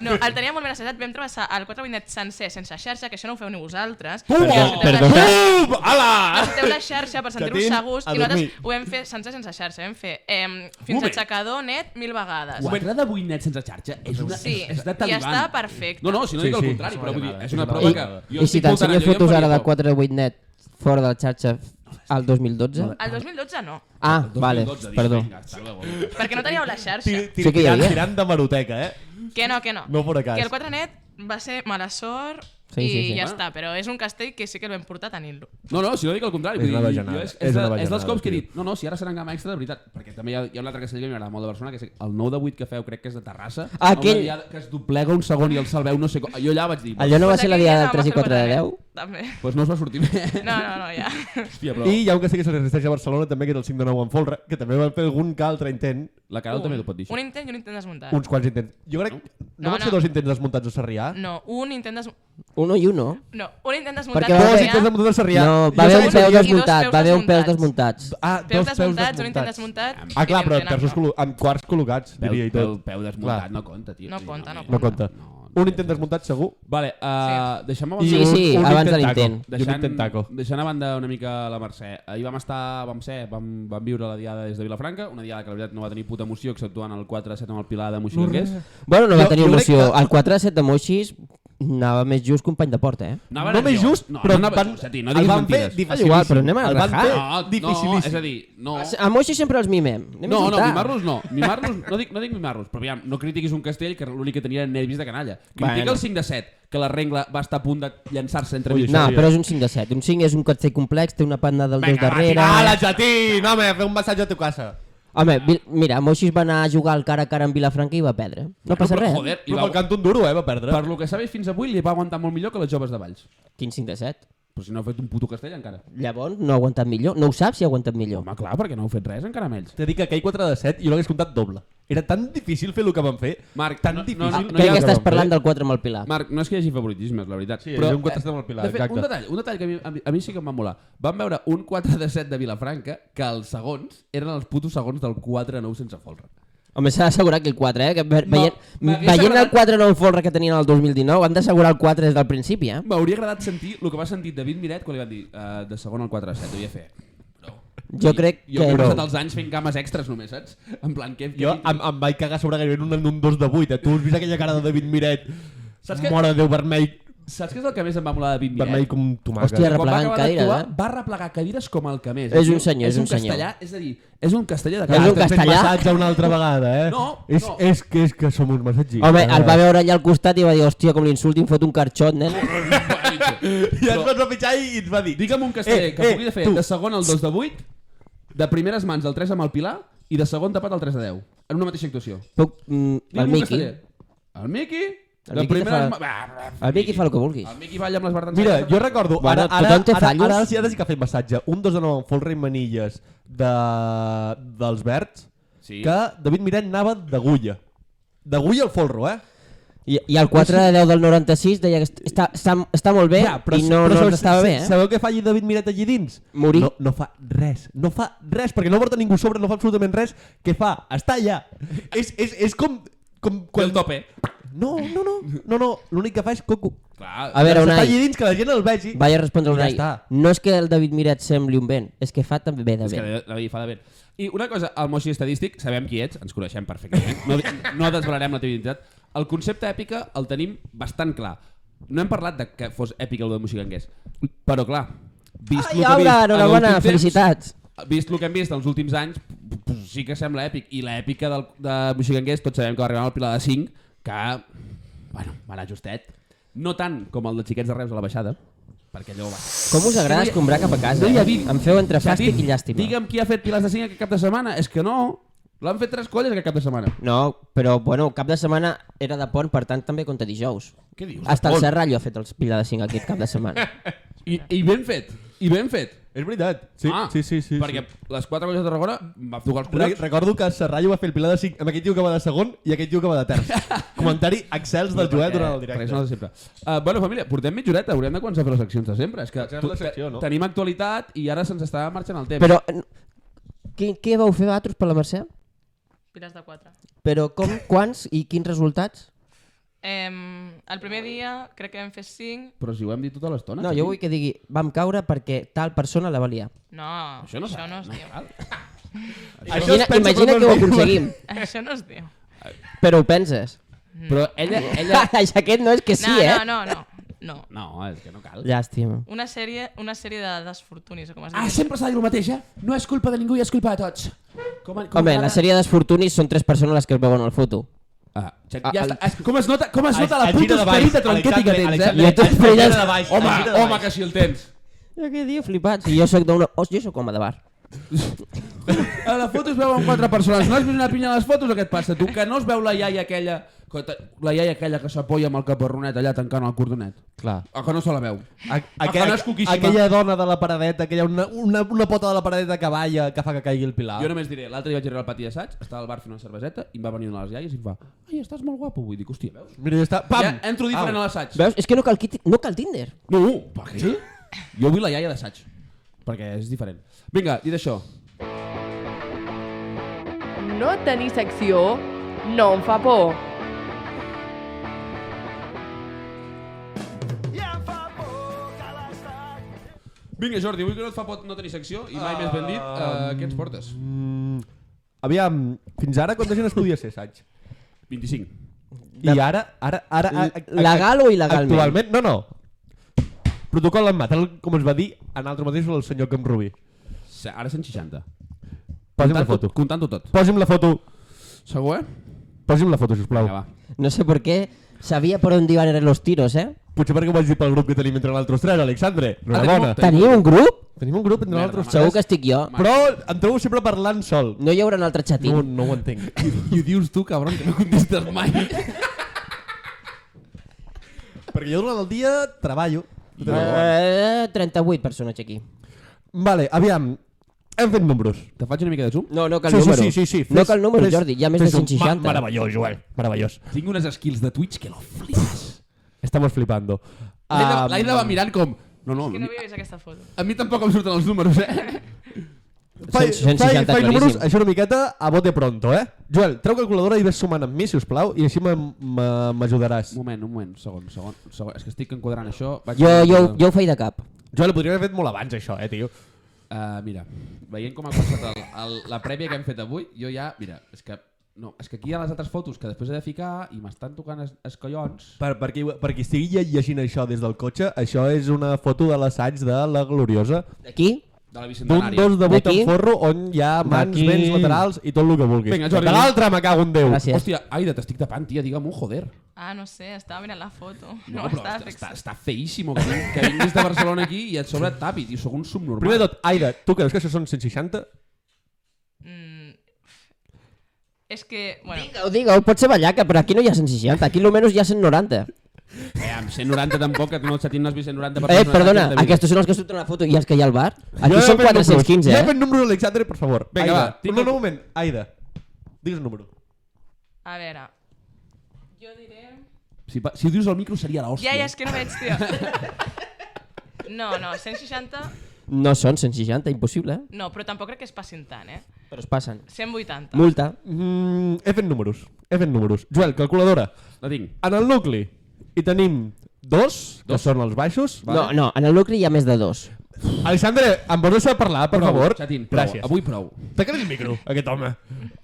no, el tenia molt ben assajat, vam travessar el 4 net sencer sense xarxa, que això no ho feu ni vosaltres. Perdó- perdó. Bum! Ala! Necessiteu la xarxa per sentir-vos Catint, segurs a i nosaltres dormir. ho vam fer sense sense xarxa, vam fer eh, fins Moment. aixecador net mil vegades. Un Quatre de vuit nets sense xarxa és, una, Sí, és, és de i Taliban. està perfecte. No, no, si no Sí, dic el sí, contrari, és però una vull dir, vegada, és és una una prova que... vegada. jo I estic si t'ensenyo voltant allò, jo fotos em ara de faria 4 de 8 net fora de la xarxa al 2012? El 2012 no, Ah, por. vale, 2012, dic, perdó. vinga, hasta luego. perquè no teníeu la xarxa. Tir, tir, Sí que hi tirant, havia. tirant de maroteca, eh? Que no, que no. No fora cas. Que el 4 net va ser mala sort Sí, sí, i sí, sí. ja Ah. està, però és un castell que sí que el vam portar a tenir-lo. No, no, si no dic el contrari. És vull dir, una jo bajanada, És, és és, de, una és dels bajanada, cops que he tio. dit, no, no, si ara seran gamma extra, de veritat, perquè també hi ha, hi ha un altre castell que m'agrada molt de Barcelona, que és el 9 de 8 que feu, crec que és de Terrassa, Ah, on aquell- hi ha- que es doblega un segon i el salveu, no sé com. Jo allà vaig dir, Allò no va Pues ser la aquell diada dia del 3 i vam 4 de fer 10? el 4 net, doncs no us va sortir bé. També. No, no, no, ja. Hòstia, però I hi ha un que sí que se resisteix a Barcelona, també, que és el 5 de 9 en folre, que també van fer algun que altre intent, la Carol també ho pot dir. Un això. intent i un intent desmuntat. uns quants intents. Jo crec... No, No, van ser no. dos intents desmuntats a Sarrià? No, un intent des... Uno i uno? No, un intent desmuntat. Perquè va que Dos haver- hi ha- intents desmuntats a Sarrià. No, Jo va haver sabia un que hi peu havia- dos desmuntat, va haver un peu peus desmuntat. Ah, Peus desmuntats, un intent desmuntat. Ah, clar, i però un amb, terços, altre. col·lo- amb quarts col·locats, Peu, diria i peu, tot. peu desmuntat, Clar. no compta, tio. No Vull dir, compta, no No mira. compta. No, no. Un intent desmuntat segur. Vale, uh, deixem I avançar. Sí, un- sí, un abans de intent taco. l'intent. I un intent taco. deixant a banda una mica la Mercè, ahir vam estar, vam ser, vam, vam viure la diada des de Vilafranca, una diada que la veritat no va tenir puta emoció, exceptuant el 4-7 amb el Pilar de Moixilonguers. Bueno, no Jo- va tenir jo crec emoció. que- El 4 de 7 de Moixis anava més just company de porta, eh? Anava no més nerviós. just, no, però no, anava van, just, a ti, no el diguis van fer mentides. dificilíssim. Igual, Ah, però anem a el van rajar. fer No, no, dificilíssim. és a dir, no... A Moixis sempre els mimem. Ah, Anem No, a no, insultar. mimar-los no. Mimar-los, no dic, no dic mimar-los, però aviam, no critiquis un castell que l'únic que tenia eren nervis de canalla. Critica Bueno. el 5 de 7, que la regla va estar a punt de llançar-se entre Ui, mitjans. No, Això ja. però és un 5 de 7. Un 5 és un castell complex, té una panda del 2 Vinga, va, darrere... Ah, la Jatí! No, home, fer un massatge a tu casa. Home, Vil- mira, Moixis va anar a jugar al cara a cara amb Vilafranca i va perdre. No passa però, res. Joder, i Però va, pel canto un duro, eh, va perdre. per lo que sabeu fins avui li va aguantar molt millor que les joves de Valls. Quin 5 de 7? Però si no ha fet un puto castell encara. Llavors, no ha aguantat millor? No ho saps si ha aguantat millor. Home, clar, perquè no heu fet res encara amb ells. T'he dit que aquell 4 de 7 jo l'hagués comptat doble. Era tan difícil fer el que van fer. Marc, tan no- no- difícil. no- Ah, no hi Crec ha Eh? que estàs que parlant del 4 amb el Pilar. Marc, no és que hi hagi favoritismes, la veritat. eh, Sí, hi havia un 4 de set amb el Pilar, de fet, exacte. un detall, un detall que a mi, a mi- a mi sí que em va molar. Vam veure un 4 de 7 de Vilafranca que els segons eren els putos segons del 4 a 9 sense folre. Home, s'ha d'assegurar que el 4, eh? Que ve, No, veient, m'hagués veient el agradat- 4 no el folre que tenien el 2019, han d'assegurar el 4 des del principi, eh? M'hauria agradat sentir el que va sentir David Miret quan li van dir uh, de segon al 4 a 7, devia fer. Bro. Jo crec Jo que... m'he no. passat els anys fent cames extres només, saps? En plan, què... Jo em, em vaig cagar sobre gairebé en un, en un 2 de 8, eh? Tu has vist aquella cara de David Miret? Saps Saps que- que... Mora de Déu, vermell, Saps què és el que més em va molar de David Miret? vermell com tomàquet. Hòstia, Quan va Replegant acabar d'actuar, cadires, eh? va replegar cadires com el que més. És tio. un senyor, és un senyor. Castellà, és a dir, és un castellà de És un caràcter. Estem fent castellà? massatge una altra vegada, eh? No, és, no. És que, és que som uns Eh, massatgistes. Home, el va veure allà al costat i va dir, hòstia, com l'insultin, fot un carxot, nen. I ens va pitjar i ens va dir... Digue'm un casteller Eh, eh, que eh, pugui fer tu. de segon al 2 de 8, de primeres mans al 3 amb el Pilar i de segon tapat al 3 de 10, en una mateixa actuació. Puc... Mm, el Digue'm un Miqui. casteller. El Miqui? El de Miqui te primeres fa- ma- Bah, bah, El Miqui fa el que vulguis. El Miqui balla amb les bardances. Mira, jo recordo... Bueno, ara, ara, tothom té ara, ara, fallos. ara, sí, ara sí que ha fet massatge. Un 2 de 9 amb folre i manilles de, dels verds Sí. que David Miret anava d'agulla. D'agulla al folro, eh? I, I el 4 de 10 del 96 deia que est- està, està, està molt Eh, bé ja, però, i no, no sabeu- ens estava bé, eh? Sabeu què fa allí David Miret allí dins? Morir. No, no fa res, no fa res, perquè no porta ningú a sobre, no fa absolutament res. Què fa? Està allà. És, és, és com... com Quan... El tope. No, no, no, no, no. l'únic que fa és coco. Clar, A veure, Està Unai. allí dins, que la gent el vegi. Vaig a respondre I un ja ja està. No és que el David Miret sembli un vent, és que fa també bé de és que vent. la, la fa de vent. I una cosa, el Moixi Estadístic, sabem qui ets, ens coneixem perfectament, no, no desvelarem la teva identitat. El concepte èpica el tenim bastant clar. No hem parlat de que fos èpica el de Moixiganguers, però clar, vist Ai, lo que hem Aura, vist en enhorabona, l'últim temps, felicitats. Vist el que hem vist els últims anys, p- p- sí que sembla èpic. I l'èpica del- de Moixiganguers, tots sabem que va arribar al Pilar de 5, que, bueno, va anar justet. No tant com el de Xiquets de Reus a la baixada, perquè allò va... Com us agrada No hi ha- escombrar cap a casa? no hi ha eh? vídeo. Em feu entre S'ha dit, fàstic i llàstima. Digue'm qui ha fet pilars de 5 aquest cap de setmana. És que no. L'han fet tres colles aquest cap de setmana. No, però bueno, cap de setmana era de pont, per tant també compta dijous. Què dius? Hasta el Pol? Serrallo ha fet els pilar de 5 aquest cap de setmana. I, I ben fet. I ben fet. És veritat. Sí, ah, sí, sí, sí. perquè sí. les quatre colles de Tarragona va tocar els Re collons. Recordo que Serrallo va fer el pilar de 5 amb aquest tio que va de segon i aquest tio que va de terç. Comentari excels del Joel durant el Res no directe. de sempre. Uh, bueno, família, portem mitja horeta, haurem de començar a fer les seccions de sempre. És que Comencem la tu- secció, no? tenim actualitat i ara se'ns està marxant el temps. però eh, què, què vau fer vosaltres per la Mercè? Piles de 4. Però com, quants i quins resultats? Em, el primer dia crec que vam fer 5. Però si ho hem dit tota l'estona. No, Xavi. jo vull que digui, vam caure perquè tal persona la valia. No, Això no, això s'ha- no es diu. cal. es Imagina, pensa imagina quan que ho dormim. aconseguim, Això no es diu. però ho penses. Mm. Però ella... ella... Aquest no és que sí, no, eh? no, no, no, no. No, és que no cal. Llàstima. Una sèrie, una sèrie de desfortunis, o com es diu. Ah, sempre s'ha dit el mateix, eh? No és culpa de ningú i és culpa de tots. Com, com Home, la sèrie d'esfortunis són tres persones les que es veuen al foto. Ah, ja, Ah, ja el- està. Es- Com es nota, com es A- nota a la gira puta de baix, esperita tronqueta que Alexandre, tens, Alexandre, eh? I a tu Alexandre feies- de baix, Home, a gira de home, baix. que si el tens. Jo què diu, flipats. I jo sóc d'una... Oh, jo sóc home de bar. A la foto es veuen quatre persones. No has vist una pinya a les fotos o què et passa? Tu que no es veu la iaia aquella... que te- La iaia aquella que s'apoya amb el caparronet allà tancant el cordonet. Clar. O que no se la veu. A, aqu Ojalà es cuquíssima. aquella dona de la paradeta, aquella una, una, una pota de la paradeta que balla que fa que caigui el pilar. Jo només diré, l'altre dia vaig arribar al pati d'assaig, estava al bar fent una cerveseta i em va venir una de les iaies i em fa Ai, estàs molt guapo. Vull dir, hòstia, veus? Mira, ja està. Pam! Ja entro diferent Au. a l'assaig. Veus? És que no cal, quiti- no cal Tinder. No, per què? Jo vull la iaia d'assaig, perquè és diferent. Vinga, dit això, No tenir secció no em fa por. Vinga, Jordi, avui que no et fa pot no tenir secció i mai més ben dit, uh, què ens portes? Mm, aviam, fins ara quanta gent es podia ser Saig? 25. I ara, ara, ara... a- a- a- Legal o il·legalment? Actualment, no, no. Protocol en mà, tal com es va dir en altre mateix el senyor Camp Rubí. Se- Ara 160. Posi'm la foto. Comptant-ho tot. Posi'm la foto. Segur, eh? Posi'm la foto, sisplau. Vinga, va. No sé per què sabia per on iban los tiros, eh? Potser perquè ho vaig dir pel grup que tenim entre nosaltres tres, Alexandre. Ah, tenim Enhorabona. un- Teniu un grup? Tenim un grup entre Merda, nosaltres ma. Segur tres. que estic jo. Ma- Però em trobo sempre parlant sol. No hi haurà un altre No, xatín. no ho entenc. I ho dius tu, cabron, que no contestes mai. Perquè jo durant el dia treballo. Eh, 38 persones aquí. Vale, aviam. Hem fet números. Te faig una mica de zoom? No, no cal sí, números. sí, sí, sí, sí. No cal números, Jordi. Hi ha més de fes un- 160. Ma meravellós, Joel. Meravellós. Tinc unes skills de Twitch que lo flipes. Estamos flipando. L'Aida Am, l'Aida va mirant com... No, no, És que a mi, no havia vist aquesta foto. a mi tampoc em surten els números, eh? Fai, 160 fai, fai claríssim. números, això una miqueta a bote pronto, eh? Joel, treu calculadora i ves sumant amb mi, si us plau, i així m'am- m'a- m'ajudaràs. Un moment, un moment, un segon, segon, un segon. És que estic enquadrant això. Vaig Jo, jo, jo ho feia de cap. Joel, ho podria haver fet molt abans, això, eh, tio? Uh, mira, veient com ha passat el, el, la prèvia que hem fet avui, jo ja, mira, és que, no, és que aquí hi ha les altres fotos que després he de ficar i m'estan tocant es, es collons. Per, per, qui, per qui estigui lle- llegint això des del cotxe, això és una foto de l'assaig de la Gloriosa. Aquí? De la D'un bicentenària. dos de vuit D'aquí? en forro on hi ha mans, D'aquí. vents, laterals i tot el que vulguis. Vinga, Jordi. De l'altre me cago en Déu. Gràcies. Hòstia, Aida, t'estic tapant, tia, digue-m'ho, joder. Ah, no sé, estava mirant la foto. No, No, però estava està, està, fixat. està feíssimo que, vin- que vinguis de Barcelona aquí i et sobre et tapi, tio, sóc un subnormal. Primer de tot, Aida, tu creus que això són 160? Mm. És que, bueno, Digue-ho, digue-ho. Pot ser ballaca, però aquí no hi ha 160. Aquí almenys hi ha 190. Eh, amb 190 tampoc, que no et xatin no has vist 190 per Eh, persones perdona, d'aquesta vida. aquests són els que surten a la foto i els que hi ha al bar? Aquí Jo he són fet números. Jo 415, he eh? fet números, Alexandre, per favor. Vinga, Aida, va, tinc No, el- no, un moment. Aida, digues un número. a veure... Jo diré... Si, pa- si ho dius al micro seria l'hòstia. Ja, ja, és que no veig, tio. No, no, 160... No són 160, impossible, eh? No, però tampoc crec que es passin tant, eh? Però es passen. 180. Multa. Mm, he fet números. He fet números. Joel, calculadora. La tinc. En el nucli hi tenim dos, que són els baixos. No, no, en el lucre hi ha més de dos. Alexandre, em vols deixar parlar, per Prou, favor? Xatín, prou. Gràcies. Avui prou. Taca-li el micro, aquest home.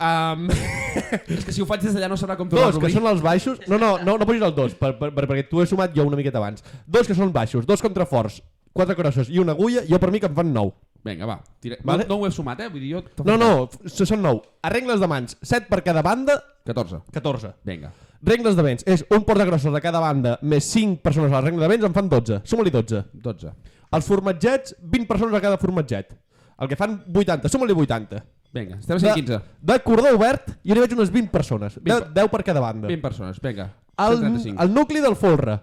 Um, És que si ho faig des d'allà no sabrà com tornar dos, que són els baixos... No, no, no, no posis el dos, per, per, per, perquè t'ho he sumat jo una miqueta abans. Dos que són baixos, dos contraforts, quatre crosses i una agulla, jo per mi que em fan nou. Vinga, va. Tira... Vale. No, no ho he sumat, eh? Vull dir, jo... No, no, f- són nou. A regles de mans, 7 per cada banda, 14. 14. Vinga. Rengles de vents. És un portagrossos de cada banda més 5 persones a la regla de vents en fan 12. Suma-li 12. 12. Els formatgets, 20 persones a cada formatget. El que fan 80. Suma-li 80. Vinga, estem a 115. de cordó obert, jo n'hi veig unes 20 persones. 10, per- 10 per cada banda. 20 persones, vinga. El, 135. el nucli del folre.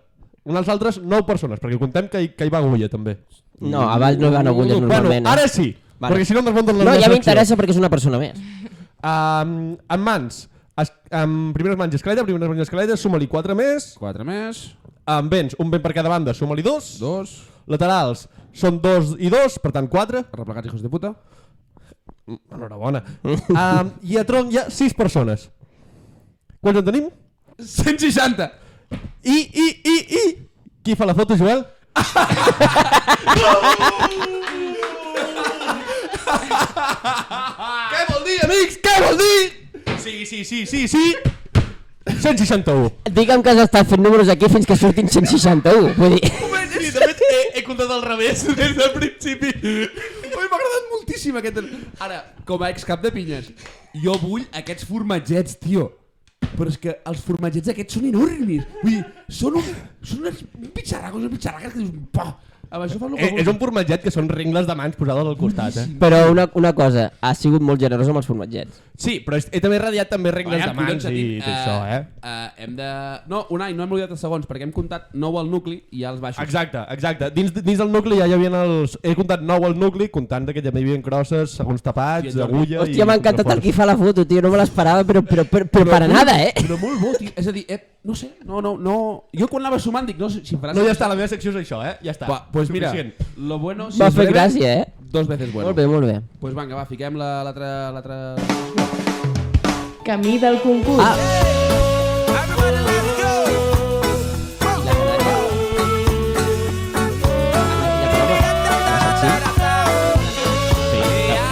Unes altres 9 persones, perquè contem que hi, que hi va agulla, també. No, abans no hi van agulles normalment. Mm. eh? bueno, ara sí, Vale. vale. perquè si no em desmunten la No, meva ja secció. m'interessa perquè és una persona més. Um, en mans, es, um, primeres mans escaleta, primeres mans escaleta, suma-li 4 més. 4 més, En vents, un vent per cada banda, suma-li 2. 2, Laterals, són 2 i 2, per tant 4. replegats hijos de puta. Enhorabona. um, I a tronc hi ha 6 persones. Quants en tenim? 160! I, i, i, i... Qui fa la foto, Joel? Què vol dir, amics? Què vol dir? Sí, sí, sí, sí, sí. 161. Digue'm que has estat fent números aquí fins que surtin 161. Vull dir... Sí, de fet, he, he comptat al revés des del principi. Ui, m'ha agradat moltíssim aquest... Ara, com a excap de pinyes, jo vull aquests formatgets, tio. Però és que els formatgets aquests són enormes. Vull dir, són, un, són unes pitxarracos, unes pitxarraques que dius... Pa! Amb això fas el que Eh, És, és un formatget que són rengles de mans posades al costat, eh? Però una, una cosa, ha sigut molt generós amb els formatgets. Sí, però he, he també radiat també rengles de mans i dit, tot això, eh? Uh, hem de... No, un any, no hem oblidat els segons, perquè hem comptat 9 al nucli i ja els baixos. Exacte, exacte. Dins, dins del nucli ja hi havia els... He comptat nou al nucli, comptant que ja hi havia crosses, segons tapats, Hòstia, agulla... Hòstia, m'ha encantat el contraforts. qui fa la foto, tio, no me l'esperava, però, però, però, però, per a nada, eh? Però molt bo, tio. És a dir, eh, no sé, no, no, no... Jo quan anava sumant dic, no sé si em faràs... No, ja està, la meva secció és això, eh? Ja està. Va, pues mira, Suficient. lo bueno... M'ha si fet breve, gràcia, eh? Dos veces bueno. Molt bé, molt bé. Pues vinga, va, fiquem la- l'altra... l'altra... Camí del concurs. Ah.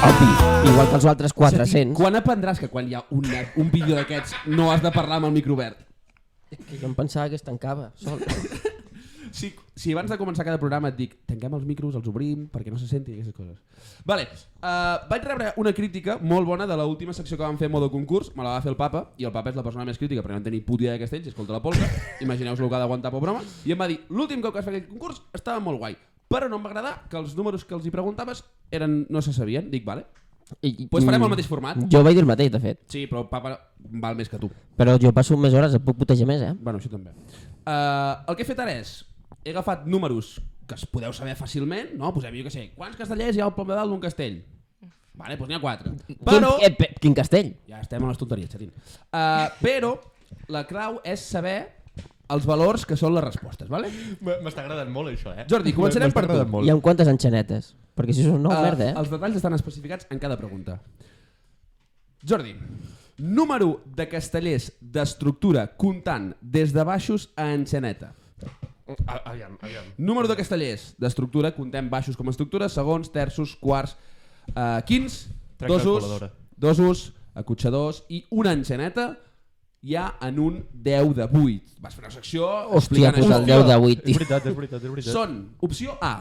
Obvi, igual que els altres 400. Quan aprendràs que quan hi ha un, un vídeo d'aquests no has de parlar amb el micro obert? Que jo em pensava que es tancava sol. Si, si abans de començar cada programa et dic tanquem els micros, els obrim, perquè no se sentin i aquestes coses. Vale, uh, vaig rebre una crítica molt bona de l'última secció que vam fer a modo concurs, me la va fer el papa, i el papa és la persona més crítica perquè no en tenir puta idea de castells, escolta la polca, imagineu-vos el que ha d'aguantar pobre home, i em va dir, l'últim cop que vas fer aquest concurs estava molt guai, però no em va agradar que els números que els hi preguntaves eren, no se sabien. Dic, vale, I, Pues farem el mm, mateix format. Jo vaig dir el mateix, de fet. Sí, però el papa val més que tu. Però jo passo més hores, et puc putejar més, eh? Bueno, això també. Uh, el que he fet ara és, he agafat números que es podeu saber fàcilment, no? Posem, jo què sé, quants castellers hi ha al poble dalt d'un castell? Vale, doncs n'hi ha quatre. Però... Quin, eh, pe- quin castell? Ja estem a les tonteries, xatín. Uh, però la clau és saber els valors que són les respostes, vale? M- M'està agradant molt això, eh? Jordi, començarem M'està per tu. agradant molt. Hi ha un quantes enxanetes? Perquè si són nou, Eh, merda, eh? Els detalls estan especificats en cada pregunta. Jordi, número de castellers d'estructura comptant des de baixos a enxaneta. A- Aviam, aviam. Número de castellers d'estructura, contem baixos com a estructura, segons, terços, quarts, eh, quins, Tractat dosos, voladora. dosos, acotxadors i una enxaneta ja en un 10 de 8. Vas fer una secció Hòstia, explicant pues el això. 10 de 8, És tio. veritat, és veritat, és veritat. Són, opció A,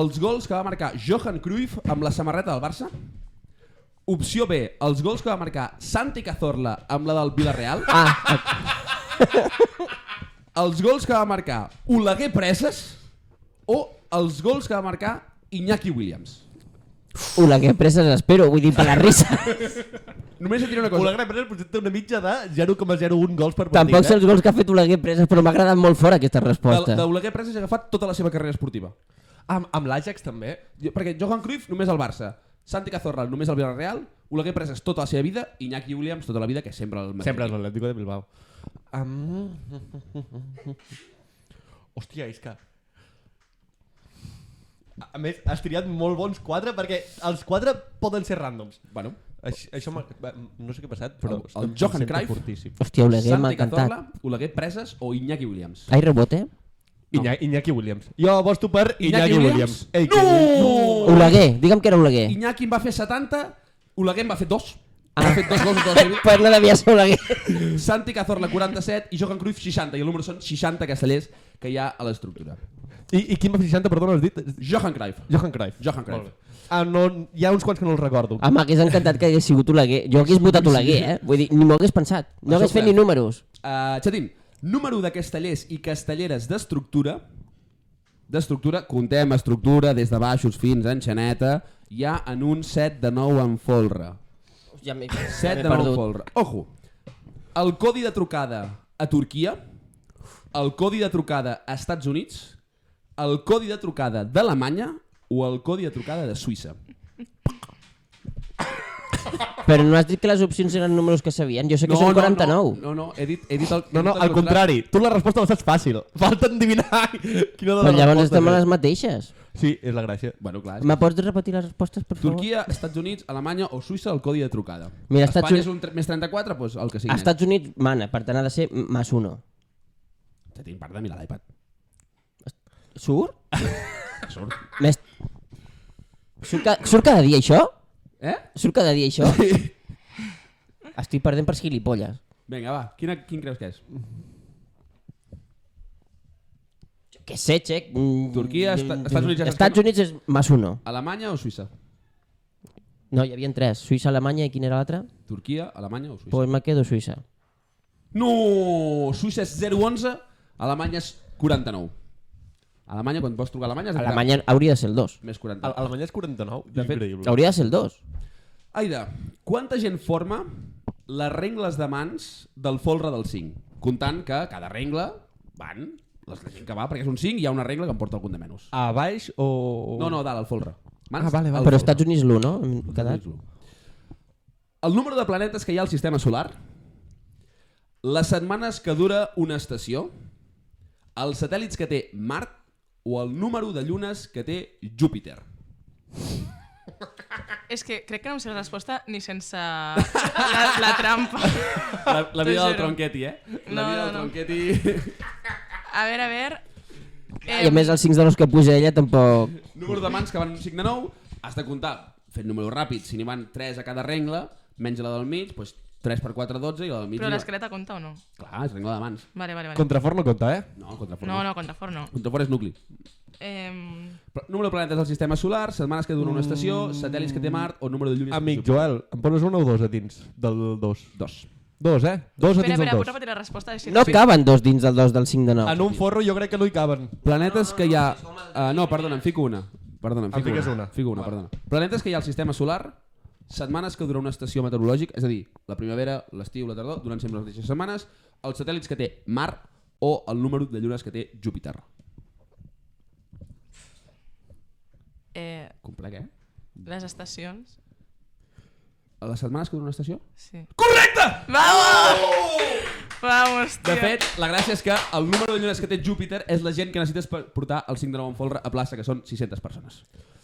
els gols que va marcar Johan Cruyff amb la samarreta del Barça. Opció B, els gols que va marcar Santi Cazorla amb la del Villarreal. Ah, Els gols que va marcar Oleguer Preses o els gols que va marcar Iñaki Williams. una que preses espero, vull dir, per la risa. Només et diré una cosa. Oleguer Pérez presenta una mitja de 0,01 gols per partit. Tampoc sé eh? els gols que ha fet Oleguer Preses, però m'ha agradat molt fort aquesta De- resposta. D'Oleguer Preses ha agafat tota la seva carrera esportiva. Amb, amb l'Ajax també. Jo, perquè Johan Cruyff només al Barça, Santi Cazorla només al Villarreal, Oleguer Preses tota la seva vida, Iñaki Williams tota la vida, que és sempre el mateix. Sempre és l'Atlético de Bilbao. Um... Hòstia, és que... A- A més, has triat molt bons quatre perquè els quatre poden ser ràndoms. Bueno, Això, això m'ha- va, no sé què ha passat, però... El- el Johan em sento Cruyff. Fortíssim. Hòstia, Oleguer m'ha Santi encantat. Cazorla, Oleguer Preses o Iñaki Williams. Ai, rebote? Iñaki, Iñaki Williams. Jo aposto per Iñaki, Williams. Williams? Ei, No! que- Oleguer, digue'm que era Oleguer. Iñaki en va fer 70, Oleguer en va fer 2. Ah. Ha fet dos gols a tota la seva vida. Pues no devia ser Oleguer. Santi Cazorla 47 i Johan Cruyff 60 i el número són 60 castellers que hi ha a l'estructura. I, I quin va fer 60, perdona, has dit? Johan Cruyff. Johan Cruyff. Johan Molt Cruyff. bé. Ah, no, hi ha uns quants que no els recordo. Ah, m'hagués encantat que hagués sigut Oleguer. Jo hagués votat Oleguer, eh? Vull dir, ni m'ho hagués pensat. Això No ho hagués fet ni farem. números. Uh, Xatín, número de castellers i castelleres d'estructura d'estructura, contem estructura des de baixos fins a enxaneta, hi ha en un set de 9 en folre. Ja m'he 7 de 9 en folre. Ojo, el codi de trucada a Turquia, el codi de trucada a Estats Units, el codi de trucada d'Alemanya o el codi de trucada de Suïssa. Però no has dit que les opcions eren números que sabien. Jo sé que són 49. No, no, no, he dit, he dit el, No, he no, dit el al contrari. Tu la resposta la saps fàcil. Falta endevinar quina de les Però Doncs llavors respostes estem a és. les mateixes. Sí, és la gràcia. Bueno, clar, és Me pots repetir les respostes, per favor? Turquia, Estats Units, Alemanya o Suïssa el codi de trucada. Mira, Estats Espanya Uni- és un tre- més 34, doncs el que sigui. A Estats Units mana, per tant ha de ser más uno. Ja tinc part de mirar l'iPad. Surt? Surt. Més... Surt, ca... surt cada dia això? Eh? Surt cada dia això? Estic perdent per gilipolles. Vinga, va. Quina, quin creus que és? Jo què sé, xec. Mm, Turquia, Esta- mm, Estats Units, ja saps Estats que Units és más uno. Alemanya o Suïssa? No, hi havia tres. Suïssa, Alemanya i quina era l'altra? Turquia, Alemanya o Suïssa? Pues me quedo Suïssa. No! Suïssa és 011, Alemanya és 49. Alemanya, quan vols trucar a Alemanya... has de trucar Alemanya hauria de ser el dos. Més 40. Al Alemanya és 49. De fet, Increïble. Hauria de ser el dos. Aida, quanta gent forma les rengles de mans del folre del 5? Comptant que cada rengle van les la gent que va, perquè és un 5 i hi ha una regla que en porta algun de menys. A baix o... No, no, dalt, al folre. Mans, Ah, vale, vale. al Però folre. Estats Units l'1, no? Hem quedat. El número de planetes que hi ha al sistema solar, les setmanes que dura una estació, els satèl·lits que té Mart o el número de llunes que té Júpiter. És que crec que no em sé la resposta ni sense la, la trampa. La, la vida T'ho del juro. tronqueti, eh? La No, vida no, del no. tronqueti... A veure, a veure... I a més els 5 de los que puja ella tampoc... Número de mans que van un signe nou, has de comptar, fent número ràpid, si n'hi van 3 a cada rengle, menys la del mig, doncs 3 per 4, 12, i la del mig... Però n'hi va- l'esqueleta compta o no? Clar, és rengle de mans. Vale, vale, vale. Contrafort no compta, eh? No, contrafort. No, no, contrafort no. Contrafort és nucli. Eh, Però, número de planetes del sistema solar, setmanes que dura una estació, satèl·lits que té Mart o número de llunes... Amic Joel, em poses un o dos a dins del dos? Dos. Dos, eh? Dos a espera, dins espera, del pots dos. repetir la resposta? Així No caben dos dins del 2 del 5 de Ah, 9. En un forro jo crec que no hi caben. Planetes que hi ha... Uh, no, perdona, en fico una. Perdona, en En fico fiques una. una. Fico una, perdona. Planetes que hi ha al sistema solar, setmanes que dura una estació meteorològica, és a dir, la primavera, l'estiu, la tardor, durant sempre les mateixes setmanes, els satèl·lits que té Mart o el número de llunes que té Júpiter. Eh, Complec, eh? les estacions? Les setmanes que dura una estació? Sí. Correcte! Vamos! Vamos, tio. De fet, la gràcia és que el número de llunes que té Júpiter és la gent que necessites per portar el 5 de 9 en folre a plaça, que són 600 persones.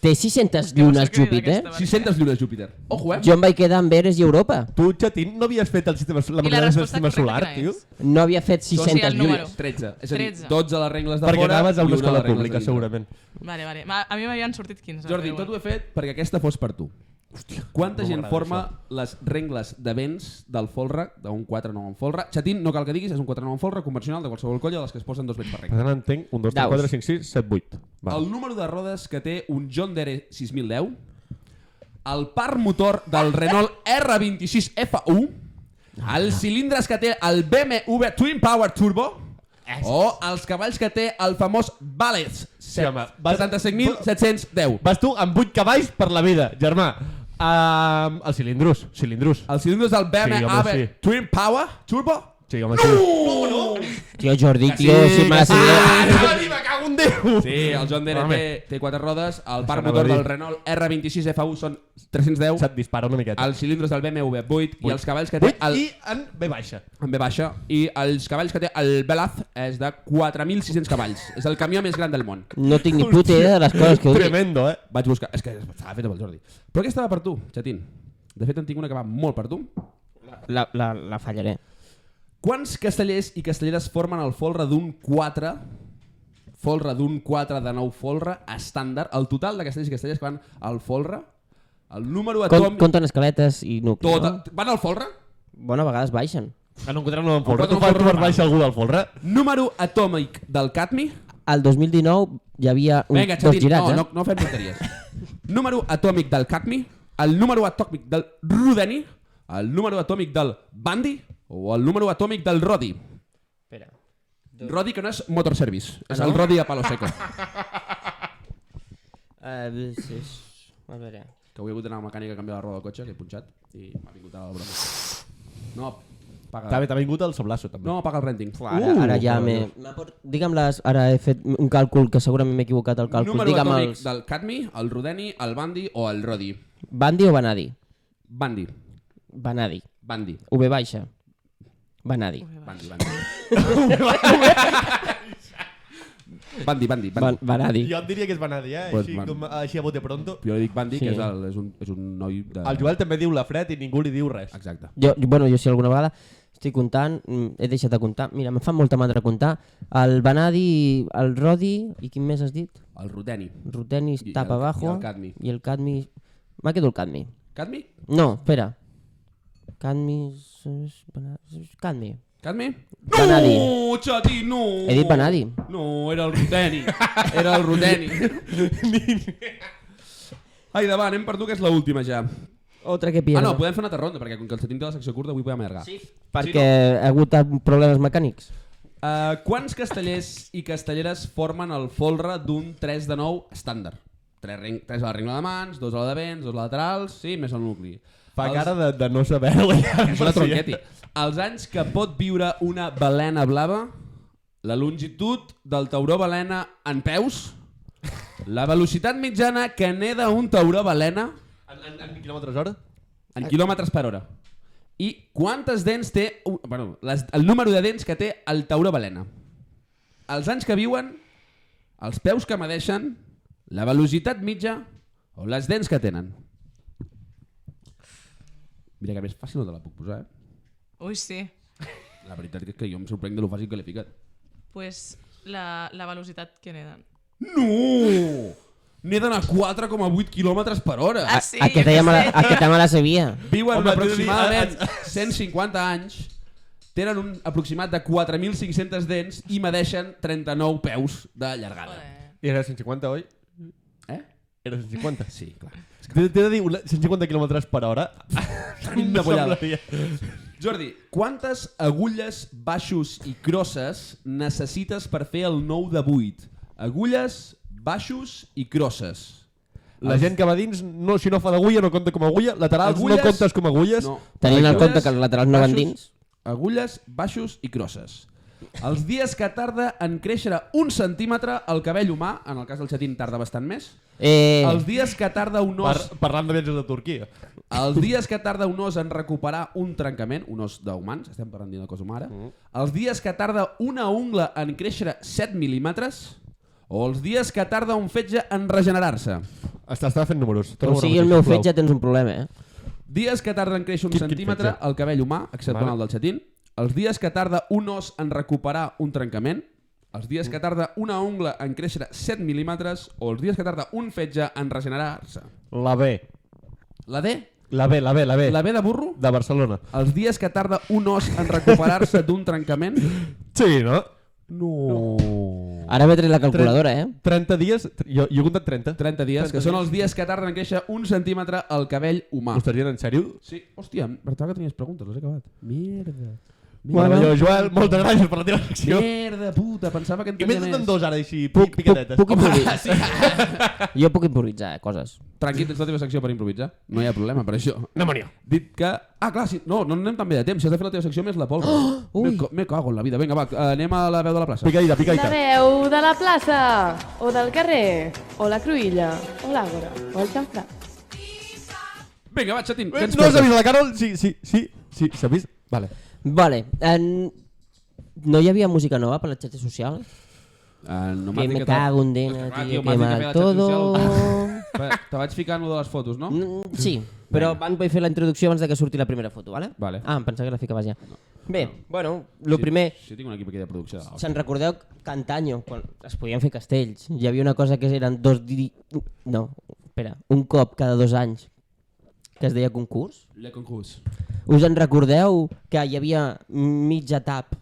Té 600 no sé llunes, què dir Júpiter. d'aquesta, va. 600 llunes Júpiter. Ojo, eh? Jo em vaig quedar amb Veres i Europa. Tu, Xatín, no havies fet el sistema, la I la manera del resposta sistema correcta solar, quina tio? és? No havia fet sí, 600 el número. llunes. 13. És a dir, 13. 12 a les regles de Perquè fora anaves a i una de escola les regles de pública, dintre. segurament. Vale, vale. Ma- A mi m'havien sortit 15. Jordi, tot ho he fet perquè aquesta fos per tu. Hòstia, Quanta no gent m'agrada forma les regles de vents del folre, d'un 4-9 en folre? Xatín, no cal que diguis, és un 4-9 en folre convencional de qualsevol colla de les que es posen dos vents per Per regle. tant, entenc, un, dos, tres, Daus. quatre, cinc, sis, set, vuit. Va. El número de rodes que té un John Deere 6010, el par motor del Renault R26F1, Ah. els cilindres que té el BMW Twin Power Turbo, Eh. o els cavalls que té el famós Balez Sí, home, vas- 75.710. Vas tu amb vuit cavalls per la vida, germà. Um, els cilindros, cilindros. Els cilindros del BMW Sí, sí, home, sí. Twin Power Turbo? Sí, home, sí. Tio, Jordi, tio, si m'has... Ah, me cago en Déu! Sí, el John Deere Home. té, té quatre rodes, el parc anava a motor dir. del Renault R26 F1 són 310, Se't dispara una miqueta. els cilindros del BMW 8 i els cavalls que té Vuit el... i en B baixa. En B baixa. I els cavalls que té el Velaz és de 4.600 cavalls. És el camió més gran del món. No tinc ni puta idea de les coses que heu dit. Tremendo, eh? Vaig buscar... És que estava feta pel Jordi. Però aquesta va per tu, Xatín. De fet, en tinc una que va molt per tu. La, la, la fallaré. Quants castellers i castelleres formen el folre d'un 4 folre d'un 4 de 9 folre estàndard, el total de castellers i castellers que van al folre, el número Com, atòmic... compten escaletes i nucli, tot, no? Van al folre? Bona vegades baixen. En un contra no em folre. quatre no Tu fas folre tu per mal. baixa algú del folre? Número atòmic del cadmi? El 2019 hi havia un, Vinga, dos Xatín, girats, no, eh? no, no fem tonteries. número atòmic del cadmi, el número atòmic del rodeni, el número atòmic del bandi o el número atòmic del rodi. Espera. Rodi que no és motor service, és Ah, el no? rodi de palo seco. Uh, sí, és- a veure... que avui he hagut d'anar a la mecànica a canviar la roda del cotxe, que he punxat, i m'ha vingut a la broma. No, També paga, t'ha vingut el Soblasso, també. no, paga el renting. Ara, uh, ara ja m'he... m'ha por- Digue'm les... Ara he fet un càlcul que segurament m'he equivocat el càlcul. Número Digue'm atòmic els... del cadmi, el rodeni, el bandi o el rodi. Bandi o Banadi? Bandi. Banadi. Bandi. V baixa. Banadi. Bandi, bandi. bandi, bandi, Ban bandi. Banadi. Jo et diria que és Banadi, eh? Pues Així, van- com, així a bote pronto. Jo li dic bandi, Sí. que és, el, és, un, és un noi de... El Joel també diu la fred i ningú li diu res. Exacte. Jo, jo- bueno, jo sí alguna vegada estic comptant, mm, he deixat de comptar. Mira, em fa molta mandra comptar. El Banadi, el Rodi, i quin més has dit? El rodeni. Ruteni I tapa el- abajo. i el Cadmi. I el Cadmi... M'ha quedat el Cadmi. Cadmi? No, espera. Cadmi... és- és Bana- és Cadmi. Cadmi? Banadi. No, Xati, no! He dit Banadi. No, era el Ruteni. Era el Ruteni. Ai, davant, anem per tu, que és l'última ja. Otra que Ah, pierda. no, podem fer una altra ronda, perquè com que el Xatín té la secció curta, avui podem allargar. Sí. Perquè ha hagut problemes mecànics. Uh, quants castellers i castelleres formen el folre d'un 3 de 9 estàndard? 3, ren 3 a la regla de mans, 2 a la de vents, 2 laterals, sí, més el nucli. Fa Els- cara de, de no saber-ho. eh? Ja. És una tronqueti. Els anys que pot viure una balena blava, la longitud del tauró balena en peus, la velocitat mitjana que neda un tauró balena En, en, en quilòmetres hora? en quilòmetres per hora. I quantes dents té... un- Bueno, les, el número de dents que té el tauró balena. Els anys que viuen, els peus que medeixen, la velocitat mitja o les dents que tenen. Mira que més fàcil no te la puc posar, eh? Ui, sí. La veritat és que jo em sorprenc de lo fàcil que l'he ficat. Pues la, la velocitat que neden. No! N'he d'anar a 4,8 km per hora. Ah, sí, Aquest jo què ja me la, sé. aquest ja me la sabia. Viuen Home, Home, t'he de dir, aproximadament ah, 150 anys, tenen un aproximat de 4.500 dents i medeixen 39 peus de llargada. Joder. I era 150, oi? Eh? Era 150. Sí, clar. T'he t'he de dir, una- 150 quilòmetres per hora. Quina Em bollada. semblaria- Jordi, quantes agulles, baixos i crosses necessites per fer el 9 de 8? Agulles, baixos i crosses. La gent que va dins, no, si no fa d'agulla, no compta com a agulla. Laterals Agulles- no comptes com a agulles. No. Tenint en Agulles, compte que els laterals no van baixos, dins. Agulles, baixos i crosses. Els dies que tarda en créixer un centímetre el cabell humà, en el cas del xatín tarda bastant més, Eh, els dies que tarda un Par os, parlant de viatges de Turquia. els dies que tarda un os en recuperar un trencament, un os d'humans, estem parlant d'una cosa humana, Mm. els dies que tarda una ungla en créixer 7 mil·límetres, o els dies que tarda un fetge en regenerar-se. Està, està fent números. o sigui, el meu fet ja tens un problema, eh? Dies que tarda en créixer un Quin- quin centímetre fetge? el cabell humà, exceptuant Vale. el del xatín. Els dies que tarda un os en recuperar un trencament. Els dies Mm. que tarda una ungla en créixer 7 mil·límetres. O els dies que tarda un fetge en regenerar-se. La B. La D? La B, la B, la B. La B de burro? De Barcelona. Els dies que tarda un os en recuperar-se d'un trencament. Sí, no? No. Ara m'he tret la calculadora, eh? 30 dies, jo, jo he comptat 30. 30 dies, que són els dies que tarda en créixer un centímetre el cabell humà. Ho estàs dient en sèrio? Sí, hòstia, em pensava que tenies preguntes, les he acabat. Mierda. Meravellós, Joel, moltes gràcies per la teva secció. Merda, puta, pensava que en I tenia més més. en dos ara, així, Puc, puc, puc, picadetes. puc Home, improvisar. Jo puc improvisar coses. Tranquil, tens la teva secció per improvisar. No hi ha problema per això. No, Mario. Dit que... Ah, clar, si... no, no anem tan bé de temps. Si has de fer la teva secció més la polva. Oh, me, ui. ca- me cago en la vida. Vinga, va, anem a la veu de la plaça. Picadita, La picadita. veu de la plaça, o del carrer, o la cruïlla, o l'àgora, o el xamfrà. Vinga, va, xatín. Eh, No s'ha vist la Carol? Sí, sí, sí, sí, s'ha vist? Vale. Vale. En... No hi havia música nova per les xarxes socials? Uh, no que m'has dit me te- cago en dena, Clar, tio, m'has dit que feia mal la todo. xarxa social. Va, Te vaig ficar en lo de les fotos, no? Mm, Sí, però van vaig fer la introducció abans de que surti la primera foto, vale? Vale. Ah, em pensava que la ficaves ja. Bé, bueno, lo primer... Sí, tinc un equip aquí de producció. de dalt. Se'n recordeu que antanyo, quan es podien fer castells, hi havia una cosa que eren dos... Di... No, espera, un cop cada dos anys, que es deia concurs. Le concurs. Us en recordeu que hi havia mitja tap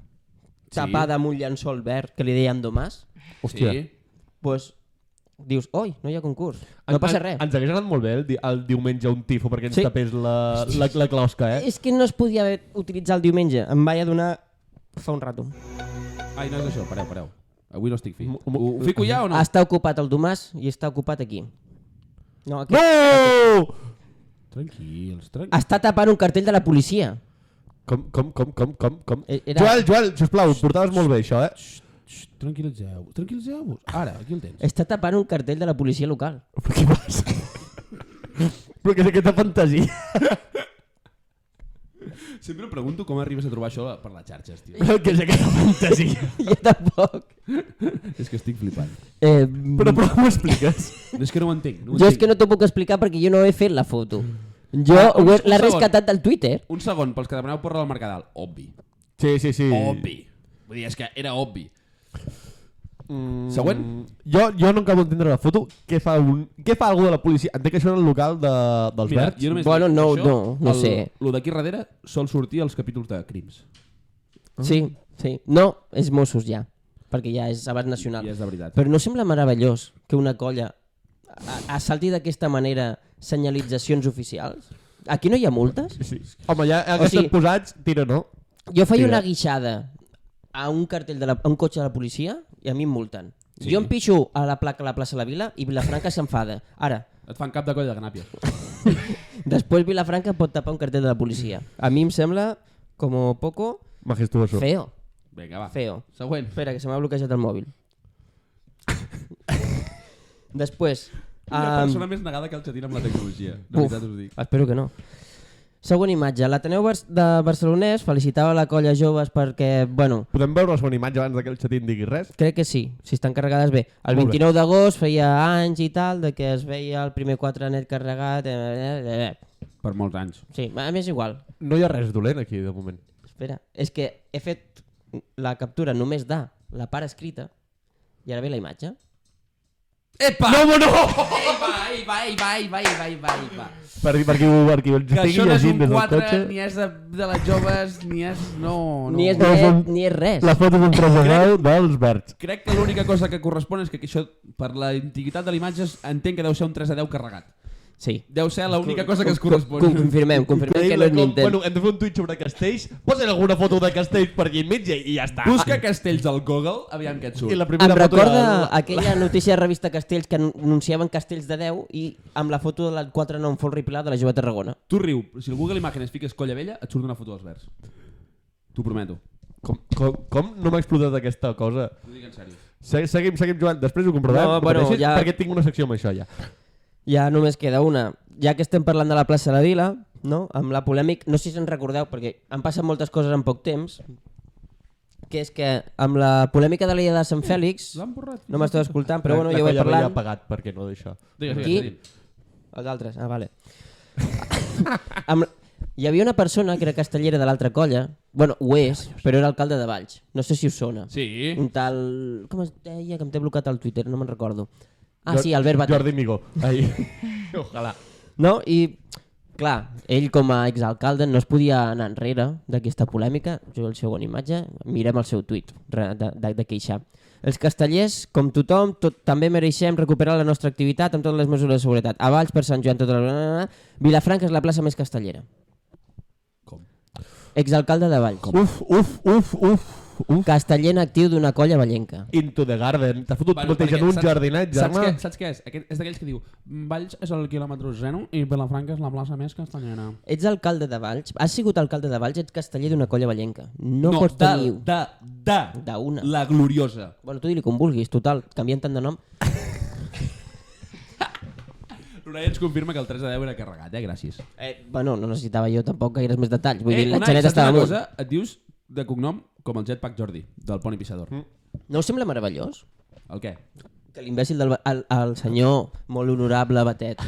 Sí. tapada amb un llençol verd que li deien domàs? Hòstia. Sí. Doncs pues, dius, oi, no hi ha concurs, no passa En- res. Ens hagués anat molt bé el, di el diumenge un tifo perquè ens Sí. sí. tapés la, la, la closca, eh? És que no es podia haver utilitzar el diumenge, em vaig adonar fa un rato. Ai, no és això, pareu, pareu. Avui no estic fi. Mo- Ho, mo- ho fico ja o no? Està ocupat el Domàs i està ocupat aquí. No, aquí. No! eh, Tranquils, tranquils. Està tapant un cartell de la policia. Com, com, com, com, com, com? Eh, era- Era... Joel, Joel, sisplau, ho portaves molt bé, això, eh? Xxt, tranquil·litzeu-vos, tranquil·litzeu-vos. Ara, aquí el tens. Està tapant un cartell de la policia local. Però què passa? Però què és aquesta fantasia? Sempre em pregunto com arribes a trobar això per les xarxes, tio. Però què és aquesta fantasia? jo tampoc. és que estic flipant. Eh, Però, però m'ho expliques? És que no ho entenc. No ho jo és entenc. que no t'ho puc explicar perquè jo no he fet la foto. Jo Ah, un- ho he- un l'he segon. rescatat del Twitter. Un segon, pels que demaneu porra del Mercadal. Obvi. Sí, sí, sí. Obvi. Vull dir, és que era obvi. Mm, Següent. Jo, jo no acabo d'entendre la foto. Què fa, un, què fa algú de la policia? Entenc que això era el local de, dels Mira, verds. jo només Bueno, dic no, això, no, no el, sé. El d'aquí darrere sol sortir als capítols de crims. Ah. Sí, sí. No, és Mossos ja, perquè ja és abat nacional. I és de veritat. Ah. Però no sembla meravellós que una colla a- assalti d'aquesta manera senyalitzacions oficials? Aquí no hi ha multes? Sí. Home, ja han estat sigui- posats, tira no. Jo faig Tira. una guixada a un cartell de la, a un cotxe de la policia i a mi em multen. Sí. Jo em pixo a la placa a la plaça de la Vila i Vilafranca s'enfada. Ara, Et fan cap de colla de ganàpia. després Vilafranca pot tapar un cartell de la policia. A mi em sembla, com poco, Majestuoso. feo. Vinga, va. Feo. Següent. Espera, que se m'ha bloquejat el mòbil. Després... Una em, persona més negada que el xatín amb la tecnologia. De Uf, veritat us dic. Espero que no. Següent imatge. L'Ateneu Bar de Barcelonès felicitava la colla joves perquè, bueno, Podem veure la segona imatge abans de que el xatín digui res? crec que sí, si estan carregades bé. El Molt bé. 29 d'agost feia anys i tal de que es veia el primer quatranet carregat... Eh, eh, eh, eh. Per molts anys. Sí, a més igual. No hi ha res dolent aquí, de moment. Espera, és que he fet la captura només de la part escrita i ara ve la imatge. Epa! No, no! Epa, epa, epa, epa, epa, epa, epa. Per, per aquí, per aquí, el Que estigui això no és llegint un des del 4, cotxe. ni és de, de les joves, ni és... No, no. Ni és, No, net, som- ni és res. La foto d'un 3 de 10 dels verds. Crec que l'única cosa que correspon és que això, per la antiguitat de l'imatge, es- entenc que deu ser un 3 a 10 carregat. Sí. Deu ser l'única cosa que es correspon. Com- Confirmem, confirmem que no és Nintendo. Bueno, hem de fer un tuit sobre castells, posen alguna foto de castells per aquí enmig i ja està. Ah, Busca castells al Google, aviam què et surt. I la Em primera foto recorda de- aquella notícia de revista Castells que anun- anunciaven Castells de 10 i amb la foto de la 4 no en Folri Pilar de la Jove Tarragona. Tu riu, però si al Google Imágenes fiques colla vella, et surt una foto dels verds. T'ho prometo. Com, com, com no m'ha explotat aquesta cosa? T'ho dic en sèrio. Se, seguim, seguim, Joan. Després ho comprovem. No, ho bueno, repeteixes, ja- Perquè tinc una secció amb això, ja. Ja només queda una. Ja que estem parlant de la plaça de la Vila, no? amb la polèmica, no sé si se'n recordeu perquè han passat moltes coses en poc temps, que és que amb la polèmica de l'illa de Sant Fèlix, L'han borrat. no m'esteu escoltant, però bueno, la, jo vaig colla parlant... vella ha pagat, per què no, d'això? Digues, Qui? digues, digues. Els altres, ah, vale. Amb... Hi havia una persona que era castellera de l'altra colla, bueno, ho és, però era alcalde de Valls. No sé si us sona. Sí. Un tal... Com es deia que em té blocat al Twitter? No me'n recordo. Ah, sí, Albert Batet. Jordi Migó. Ai. Ojalà. No? I, clar, ell com a exalcalde no es podia anar enrere d'aquesta polèmica. Jo el següent imatge, mirem el seu tuit re- de, de, de queixar. Els castellers, com tothom, tot, també mereixem recuperar la nostra activitat amb totes les mesures de seguretat. A Valls, per Sant Joan, tota la... Vilafranca és la plaça més castellera. Com? Exalcalde de Valls. Com? Uf, uf, uf, uf. Un casteller en actiu d'una colla ballenca. Into the garden. T'ha fotut bueno, perquè en un saps- jardinatge, saps home. què, saps què és? Aquest, és d'aquells que diu Valls és el quilòmetre zero i Vilafranca és la plaça més castellana. Ets alcalde de Valls? Has sigut alcalde de Valls? Ets casteller d'una colla ballenca. No, no pots de, tenir... de, de, D'una. La gloriosa. Bueno, tu digui com vulguis, total, canvien tant de nom. L'Unai ens confirma que el 3 de 10 era carregat, eh? Gràcies. Eh, bueno, no necessitava jo tampoc gaires més detalls. Vull eh, dir, la Unai, xaneta saps estava una molt... cosa? Et dius de cognom com el Jetpack Jordi, del Pony Pissador. Mm. No us sembla meravellós? El què? Que l'imbècil del ba- el, el senyor molt honorable Batet.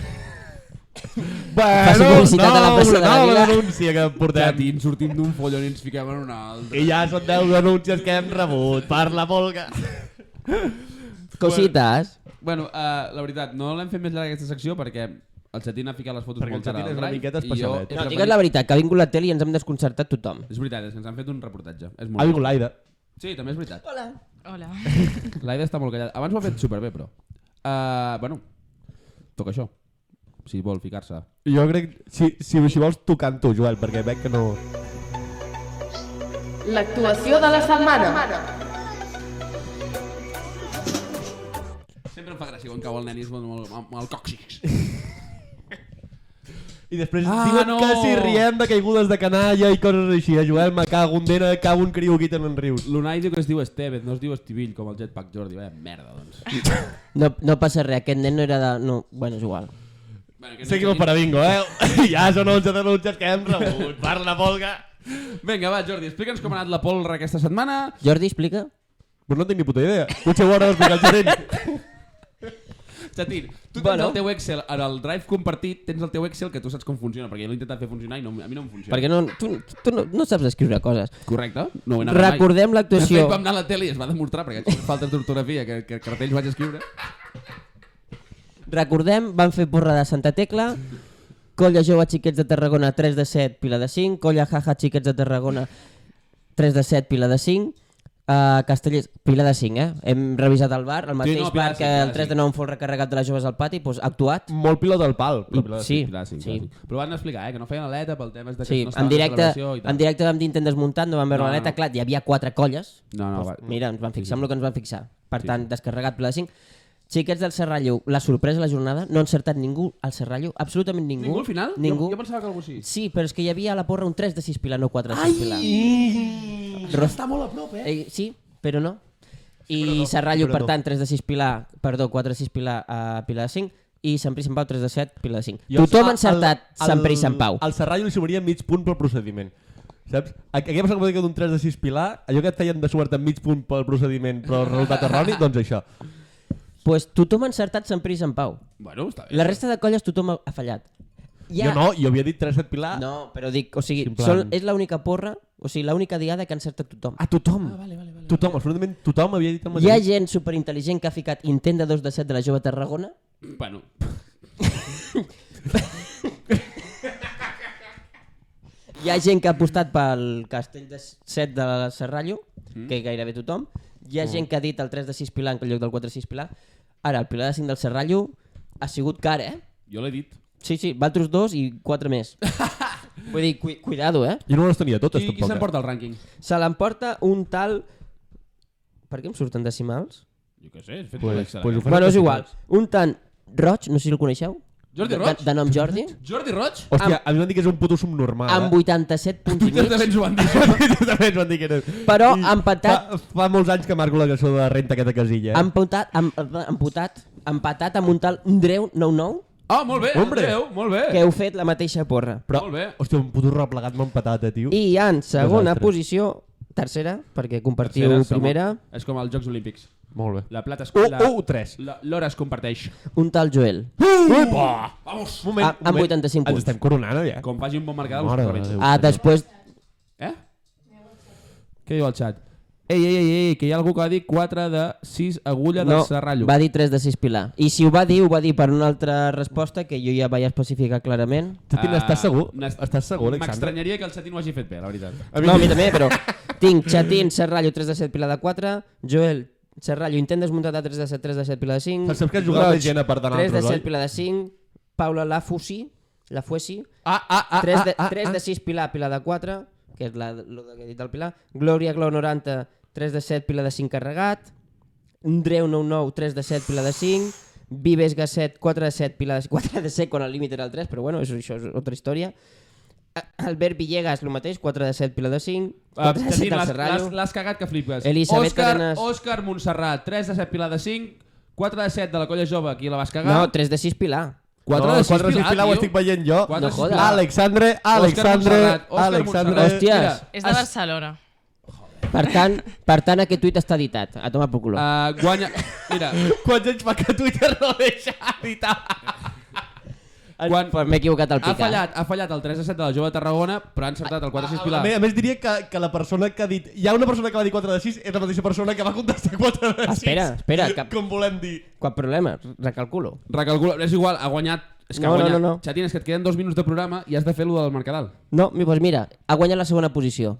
Bueno, faci publicitat a la no, plaça de la no, Vila. denúncia que portem. Xatín, sortim d'un follon i ens fiquem en un altre. I ja són 10 denúncies que hem rebut. Parla, Volga. Cosites. Bueno, uh, la veritat, no l'hem fet més llarga aquesta secció perquè el Xatín ha ficat les fotos Perquè el molt tard Xatín al és una drive miqueta i jo he especialet. No, No, preferit- digues la veritat, que ha vingut la tele i ens hem desconcertat tothom. És veritat, és que ens han fet un reportatge. És Ha molt... vingut l'aire. Sí, també és veritat. Hola. Hola. L'Aida està molt callada. Abans ho ha fet superbé, però. Uh, bueno, toca això. Si vol ficar-se. Jo crec... Si, si, si vols, tocant tu, Joel, perquè veig que no... L'actuació de la setmana. Sempre em fa gràcia quan cau el nen i es vol amb, el- amb el còxics. I després Ah, ah, diuen no! no. que si riem de caigudes de canalla i coses així. Eh, Joel, me cago un dena, cago un criu aquí, te n'en rius. L'Unai diu que es diu Estevez, no es diu Estivill, com el Jetpack Jordi. Vaja merda, doncs. No, no passa res, aquest nen no era de... No, bueno, és igual. bueno, que no Seguim el paradingo, eh? ja són 11 denúncies que hem rebut. Parla, Volga. Vinga, va, Jordi, explica'ns com ha anat la polra aquesta setmana. Jordi, explica. Però no tinc ni puta idea. Potser ho haurà d'explicar el gerent. Chatín, tu tens Bueno. el teu Excel, en el Drive compartit, tens el teu Excel que tu saps com funciona, perquè jo l'he intentat fer funcionar i no, a mi no em funciona. Perquè no, tu, tu no, no saps escriure coses. Correcte, no ho he anat De Recordem fet, l'actuació. vam anar a la tele i es va demostrar, perquè aquí falta d'ortografia, que, que cartells vaig escriure. Recordem, van fer porra de Santa Tecla, colla jove xiquets de Tarragona 3 de 7, pila de 5, colla jaja xiquets de Tarragona 3 de 7, pila de 5, Uh, Castellers, pila de 5, eh? Hem revisat el bar, el mateix no, pila bar de cinc, que pila el de 3 de cinc. Mm, 9 fou el recarregat de les joves al pati, doncs, ha actuat. Molt pilot al pal. I, Però pilot. sí, Clàssic, sí, clàssic. Però van explicar, eh, que no feien aleta pel tema de que sí. no estava En, directe, la celebració i en tal. directe vam dir intent desmuntant, no vam veure No, no, l'aleta, no. clar, hi havia quatre colles, Doncs, No, no, va. Mira, ens van fixar amb el que ens van fixar. Per tant, descarregat pla de 5. Xiquets del Serrallo, la sorpresa de la jornada, no ha encertat ningú al Serrallo, absolutament ningú. Ningú al final? Ningú. Jo, jo pensava que algú sí. Sí, però és que hi havia a la porra un 3 de 6 pilar, no 4 de 6 pilar. Ro- Està molt a prop, eh? Eh, sí, però no. I Serrallo, però per no. tant, 3 de 6 pilar, perdó, 4 de 6 pilar a pilar de 5 i Sant Pere i Sant Pau 3 de 7 pilar de 5. Jo- Tothom el- ha encertat el- Sant Pere i Sant Pau. El Serrallo li sumaria mig punt pel procediment. Saps? Aquí ha passat com d'un 3 de 6 pilar, allò que et feien de sumar-te mig punt pel procediment, però el resultat erroni, doncs això. Pues tothom ha encertat Sant Pere i Sant Pau. Bueno, està bé. La resta de colles tothom ha ha fallat. Hi Jo ha- no, jo havia dit 3 de 7 pilar no. No, però dic, o sigui, Sí, en plan- sol, és l'única porra, o sigui, l'única diada que encerta tothom. a tothom. Ah, vale, vale, vale, tothom, absolutament tothom havia dit el Hi ha mateix. gent superintel·ligent que ha ficat intent de 2 de 7 de la jove Tarragona, Bueno, hi ha gent que ha apostat pel castell de 7 de la Serrallo, que gairebé tothom, hi ha gent que ha dit el 3 de 6 Pilar en lloc del 4 de 6 Pilar. Ara, el Pilar de 5 del Serrallo ha sigut car, eh? jo l'he dit. Sí, sí, Valtros 2 i 4 més. Vull dir, cu cuidado, eh? Jo no les tenia totes, Qui, qui tampoc. s'emporta el rànquing? Se l'emporta un tal... Per què em surten decimals? Jo què sé, has fet Pues- un Excel. pues ho eh? fa- Bueno, és igual. Un tant Roig, no sé si el coneixeu. Jordi De- Roig? De, de nom Jordi. Jordi Roig? Hòstia, a mi m'han dit que és un puto subnormal. Amb 87 punts i Twitter mig. també ens ho van dir. eh? també ens van dir que era... Però I empatat- Fa, fa molts anys que marco la cançó de renta aquesta casilla. Eh? Emputat, em, eh, emputat, empatat amb un tal Andreu 99 Ah, molt bé, Hombre. Andreu, molt bé. que heu fet la mateixa porra. Però, Molt bé. hòstia, un puto replegat m'ha empatat, eh, tio. I hi ha en segona Desastre. posició, tercera, perquè compartiu Tercera, segona. primera, És com als Jocs Olímpics. Molt bé. La plata es... Uh, la- uh, 3. la- L'hora es comparteix. un tal Joel. Upa! Vamos! Moment, Amb- amb 85 punts. Ens estem coronant, ja. Com faci un bon marcador, us Mare de revenjo. Déu. Ah, després... Eh? Què diu el xat? Ei, ei, ei, ei, que hi ha algú que va dir 4 de 6 agulla del No, serrallo. va dir 3 de 6 Pilar. I si ho va dir, ho va dir per una altra resposta que jo ja vaig especificar clarament. Tatina, estàs segur? n'est- Estàs segur, Alexandre? Ah, M'estranyaria que el Satin ho hagi fet bé, la veritat. A mi- No, a mi també, però tinc Chatín, Serrallo, 3 de 7, Pilar de 4, Joel, Serrallo, intent desmuntat de 3 de 7, 3 de 7, Pilar de 5. Saps- saps que has jugat Roig, més gent a part d'anar 3 de altres, 7, oi? Pilar de 5, Paula Lafusi, la Fuesi, Ah, ah, ah, 3 de, ah, ah, 3 de 6, Pilar, Pilar de 4, que és la, lo que ha dit el Pilar, Glòria Glau 90, 3 de 7, Pilar de 5 carregat, Andreu 99, 3 de 7, Pilar de 5, Vives Gasset, 4 de 7, Pilar de 4 de 7, quan el límit era el 3, però bueno, això, això és altra història. A- Albert Villegas, el mateix, 4 de 7, Pilar de 5, Ah, 4 de 7 del Serrallo. L'has cagat que flipes. Elisabet Òscar, Cadenes. Òscar Montserrat, 3 de 7 Pilar de 5, 4 de 7 de la colla jove, aquí la vas cagar. No, 3 de 6, Pilar. quatre de No, sis quatre de sis Pilar, Pilar, ho tio. estic veient jo. Quatre No de sis jodes. Pilar. Alexandre, Alexandre, Montserrat, Òscar Alexandre... Montserrat. Hòsties. Mira, És de Barcelona. Per tant, per tant aquest tuit està editat, a tomar pel Ah, color. eh, guanya... Mira, Quants anys fa que Twitter no deixa editar? quan- Ah, Pues M'he equivocat al ha picar. fallat, ha fallat el 3 de 7 de la jove de Tarragona, però ha encertat el 4 de 6 A Pilar. més, a més diria que, que la persona que ha dit... Hi ha una persona que va dir 4 de 6 és la mateixa persona que va contestar 4 de 6. Espera, espera, cap- Com volem dir. Cap problema, recalculo. Recalcula, és igual, ha guanyat... És que No, ha no, guanyat. no, no. Xatín, és que et queden dos minuts de programa i has de fer lo del Mercadal. No, mi- doncs mira, ha guanyat la segona posició.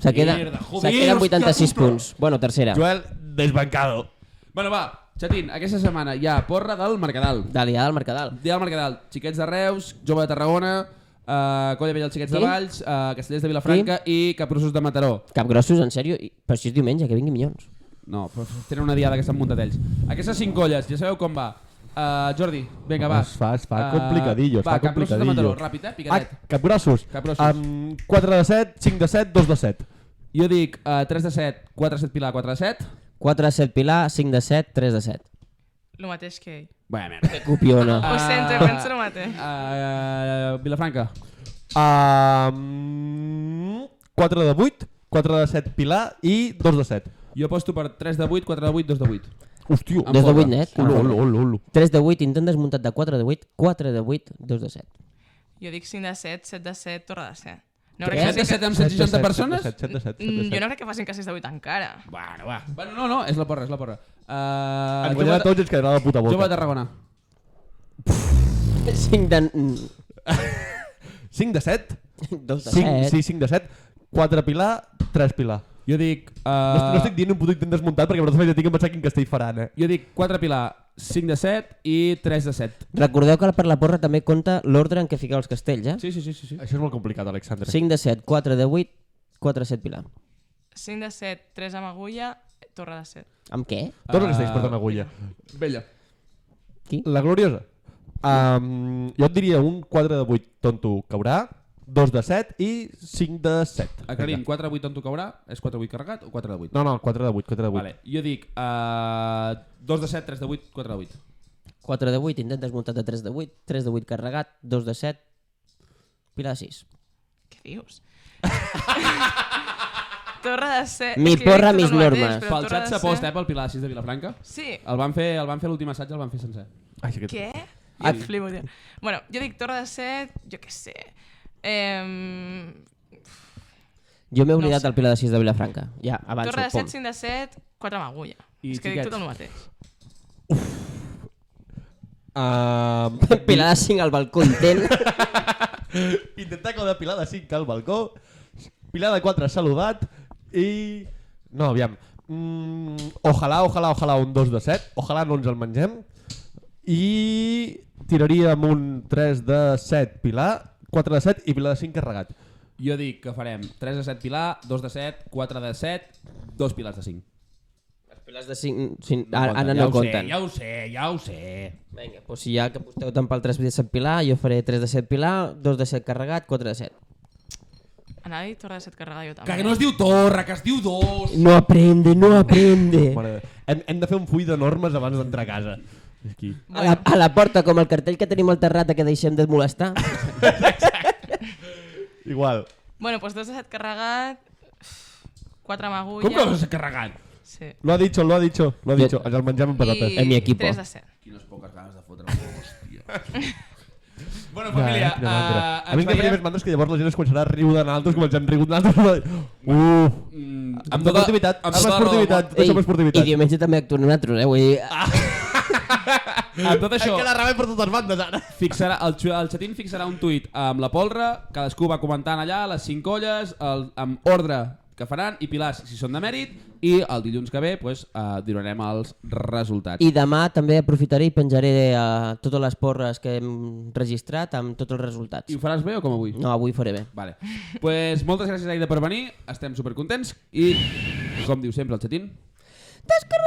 Se queda, Mierda, joder, se queda amb hòstia 86 puta. punts. Bueno, tercera. Joel, desbancado. Bueno, va, Xatín, aquesta setmana hi ha porra del Mercadal. De la Diada del Mercadal. Dia del Mercadal, Xiquets de Reus, Jove de Tarragona, uh, Colla Vella dels Xiquets Qui? de Valls, uh, Castellers de Vilafranca i Caprossos de Mataró. Capgrossos, en sèrio? I- Però si és diumenge, que vinguin minyons. No, però tenen una diada que estan muntat ells. Aquestes cinc colles, ja sabeu com va. Uh, Jordi, vinga, va. Es fa- es fa Eh, complicadillo, es va, fa Capgrossos de complicadillo. Mataró, ràpid, eh? Ah, Picadet. capgrossos. Capgrossos. Amb 4 de 7, 5 de 7, 2 de 7. Jo dic uh, 3 de 7, 4 de 7 Pilar, 4 de 7. 4 de 7 Pilar, 5 de 7, 3 de 7. Lo mateix que ell. Vaja merda. Copiona. Ah. Ho sento, penso el mateix. Uh, Vilafranca, Um, 4 de 8, 4 de 7 Pilar i 2 de 7. jo aposto per 3 de 8, 4 de 8, 2 de 8. Hòstia, Em Dos de fotre. vuit net. olo, olo, olo, olo. 3 de 8, intent desmuntat de 4 de 8, 4 de 8, 2 de 7. Jo dic 5 de 7, 7 de 7, torre de 7. No Què? crec 7 que, de facin 7 ca- amb 160 persones? 7 de 7, 7 de Mm, 7. jo no crec que facin que 6 de 8 encara. Bueno, va. Bueno, no, no, és la porra, és la porra. Uh, Ens guanyarà Ah, tots i ens quedarà la puta Jove de boca. Tarragona. 5 de... mm, 5 de 7? 2 de 5, 7. sí, 5 de 7. 4 Pilar, 3 Pilar. Jo dic... Uh, No, estic- no estic dient un puto intent desmuntat perquè vosaltres m'he tinc que pensar quin castell faran, eh? Jo dic 4 Pilar, 5 de 7 i 3 de 7. Recordeu que per la porra també compta l'ordre en què fiqueu els castells, eh? Sí, sí, sí, sí. sí. Això és molt complicat, Alexandre. 5 de 7, 4 de 8, 4 de 7 Pilar. 5 de 7, 3 amb agulla, torre de 7. Amb què? Tots els Ah. castells porten agulla. Vella. Qui? La gloriosa. Um, jo et diria un 4 de 8 tonto caurà, 2 de 7 i 5 de 7. Aclarim, 4 de 8 on tu caurà? És 4 de 8 carregat o 4 de 8? No, no, 4 de 8, 4 de 8. Vale. Jo dic uh, 2 de 7, 3 de 8, 4 de 8. 4 de 8, intent desmuntat de 3 de 8, 3 de 8 carregat, 2 de 7, Pilar de 6. Què dius? torre de 7. Mi porra, mis normes. Pel xat s'aposta, eh, pel Pilar 6 de Vilafranca. Sí. El van fer, el van fer l'últim assaig, el van fer sencer. Ai, sí que... Què? Et flipo, tio. Bueno, jo dic torre de 7, jo què sé. Eh, Jo m'he oblidat No sé. del Pilar de 6 de Vilafranca. Ja, avanço. torre de pom. 7, 5 de 7, 4 amb agulla. I És que dic xiquets. tot el mateix. Um, Pilar de 5 al balcó intent. intentar que de Pilar de 5 al balcó, Pilar de 4 saludat i... No, aviam. Mm, ojalà, ojalà, ojalà un 2 de 7. Ojalà no ens el mengem. I tiraria amb un 3 de 7 Pilar, 4 de 7 i Pilar de 5 carregat. Jo dic que farem 3 de 7 Pilar, 2 de 7, 4 de 7, 2 Pilars de 5. Els Pilars de 5, 5 No ara, compten, ara ja no ho compten. Sé, ja ho sé, ja ho sé. Vinga, doncs si ja que aposteu tant pel 3 de 7 Pilar, jo faré 3 de 7 Pilar, 2 de 7 carregat, 4 de 7. Anava a dir torre de 7 carregada jo també. Que no es diu Torra, que es diu 2. No aprende, no aprende. Mare de- Hem, hem de fer un full de normes abans d'entrar a casa. Aquí. A la, a la porta, com el cartell que tenim al terrat que deixem de molestar. Igual. Bueno, doncs 2 de 7 carregat, 4 amb agulla... Com que l'has carregat? Sí. Lo ha dicho, lo ha dicho, lo ha Jo- dicho. Ens el mengem amb patates. I En mi equipo. 3 de 7. Quines poques ganes de fotre hòstia. bueno, Va, família, eh, quina mandra. uh, a mi em queda més mandres que llavors la gent es començarà a riure de naltros com ens hem rigut naltros. Uf. Mm, Amb tota esportivitat, amb esportivitat, tot això amb I esportivitat. diumenge també actuen nosaltres, eh? Vull dir, ah, Amb tot això, rebem per totes bandes ara. fixarà, el, xu- el xatín fixarà un tuit amb la polra, cadascú va comentant allà, les cinc colles, el, amb ordre que faran, i pilars si són de mèrit, i el dilluns que ve pues, uh, donarem els resultats. I demà també aprofitaré i penjaré eh, totes les porres que hem registrat amb tots els resultats. I ho faràs bé o com avui? No, avui faré bé. Vale. pues moltes gràcies, Aida, per venir. Estem supercontents i, com diu sempre el xatín, T'has carregat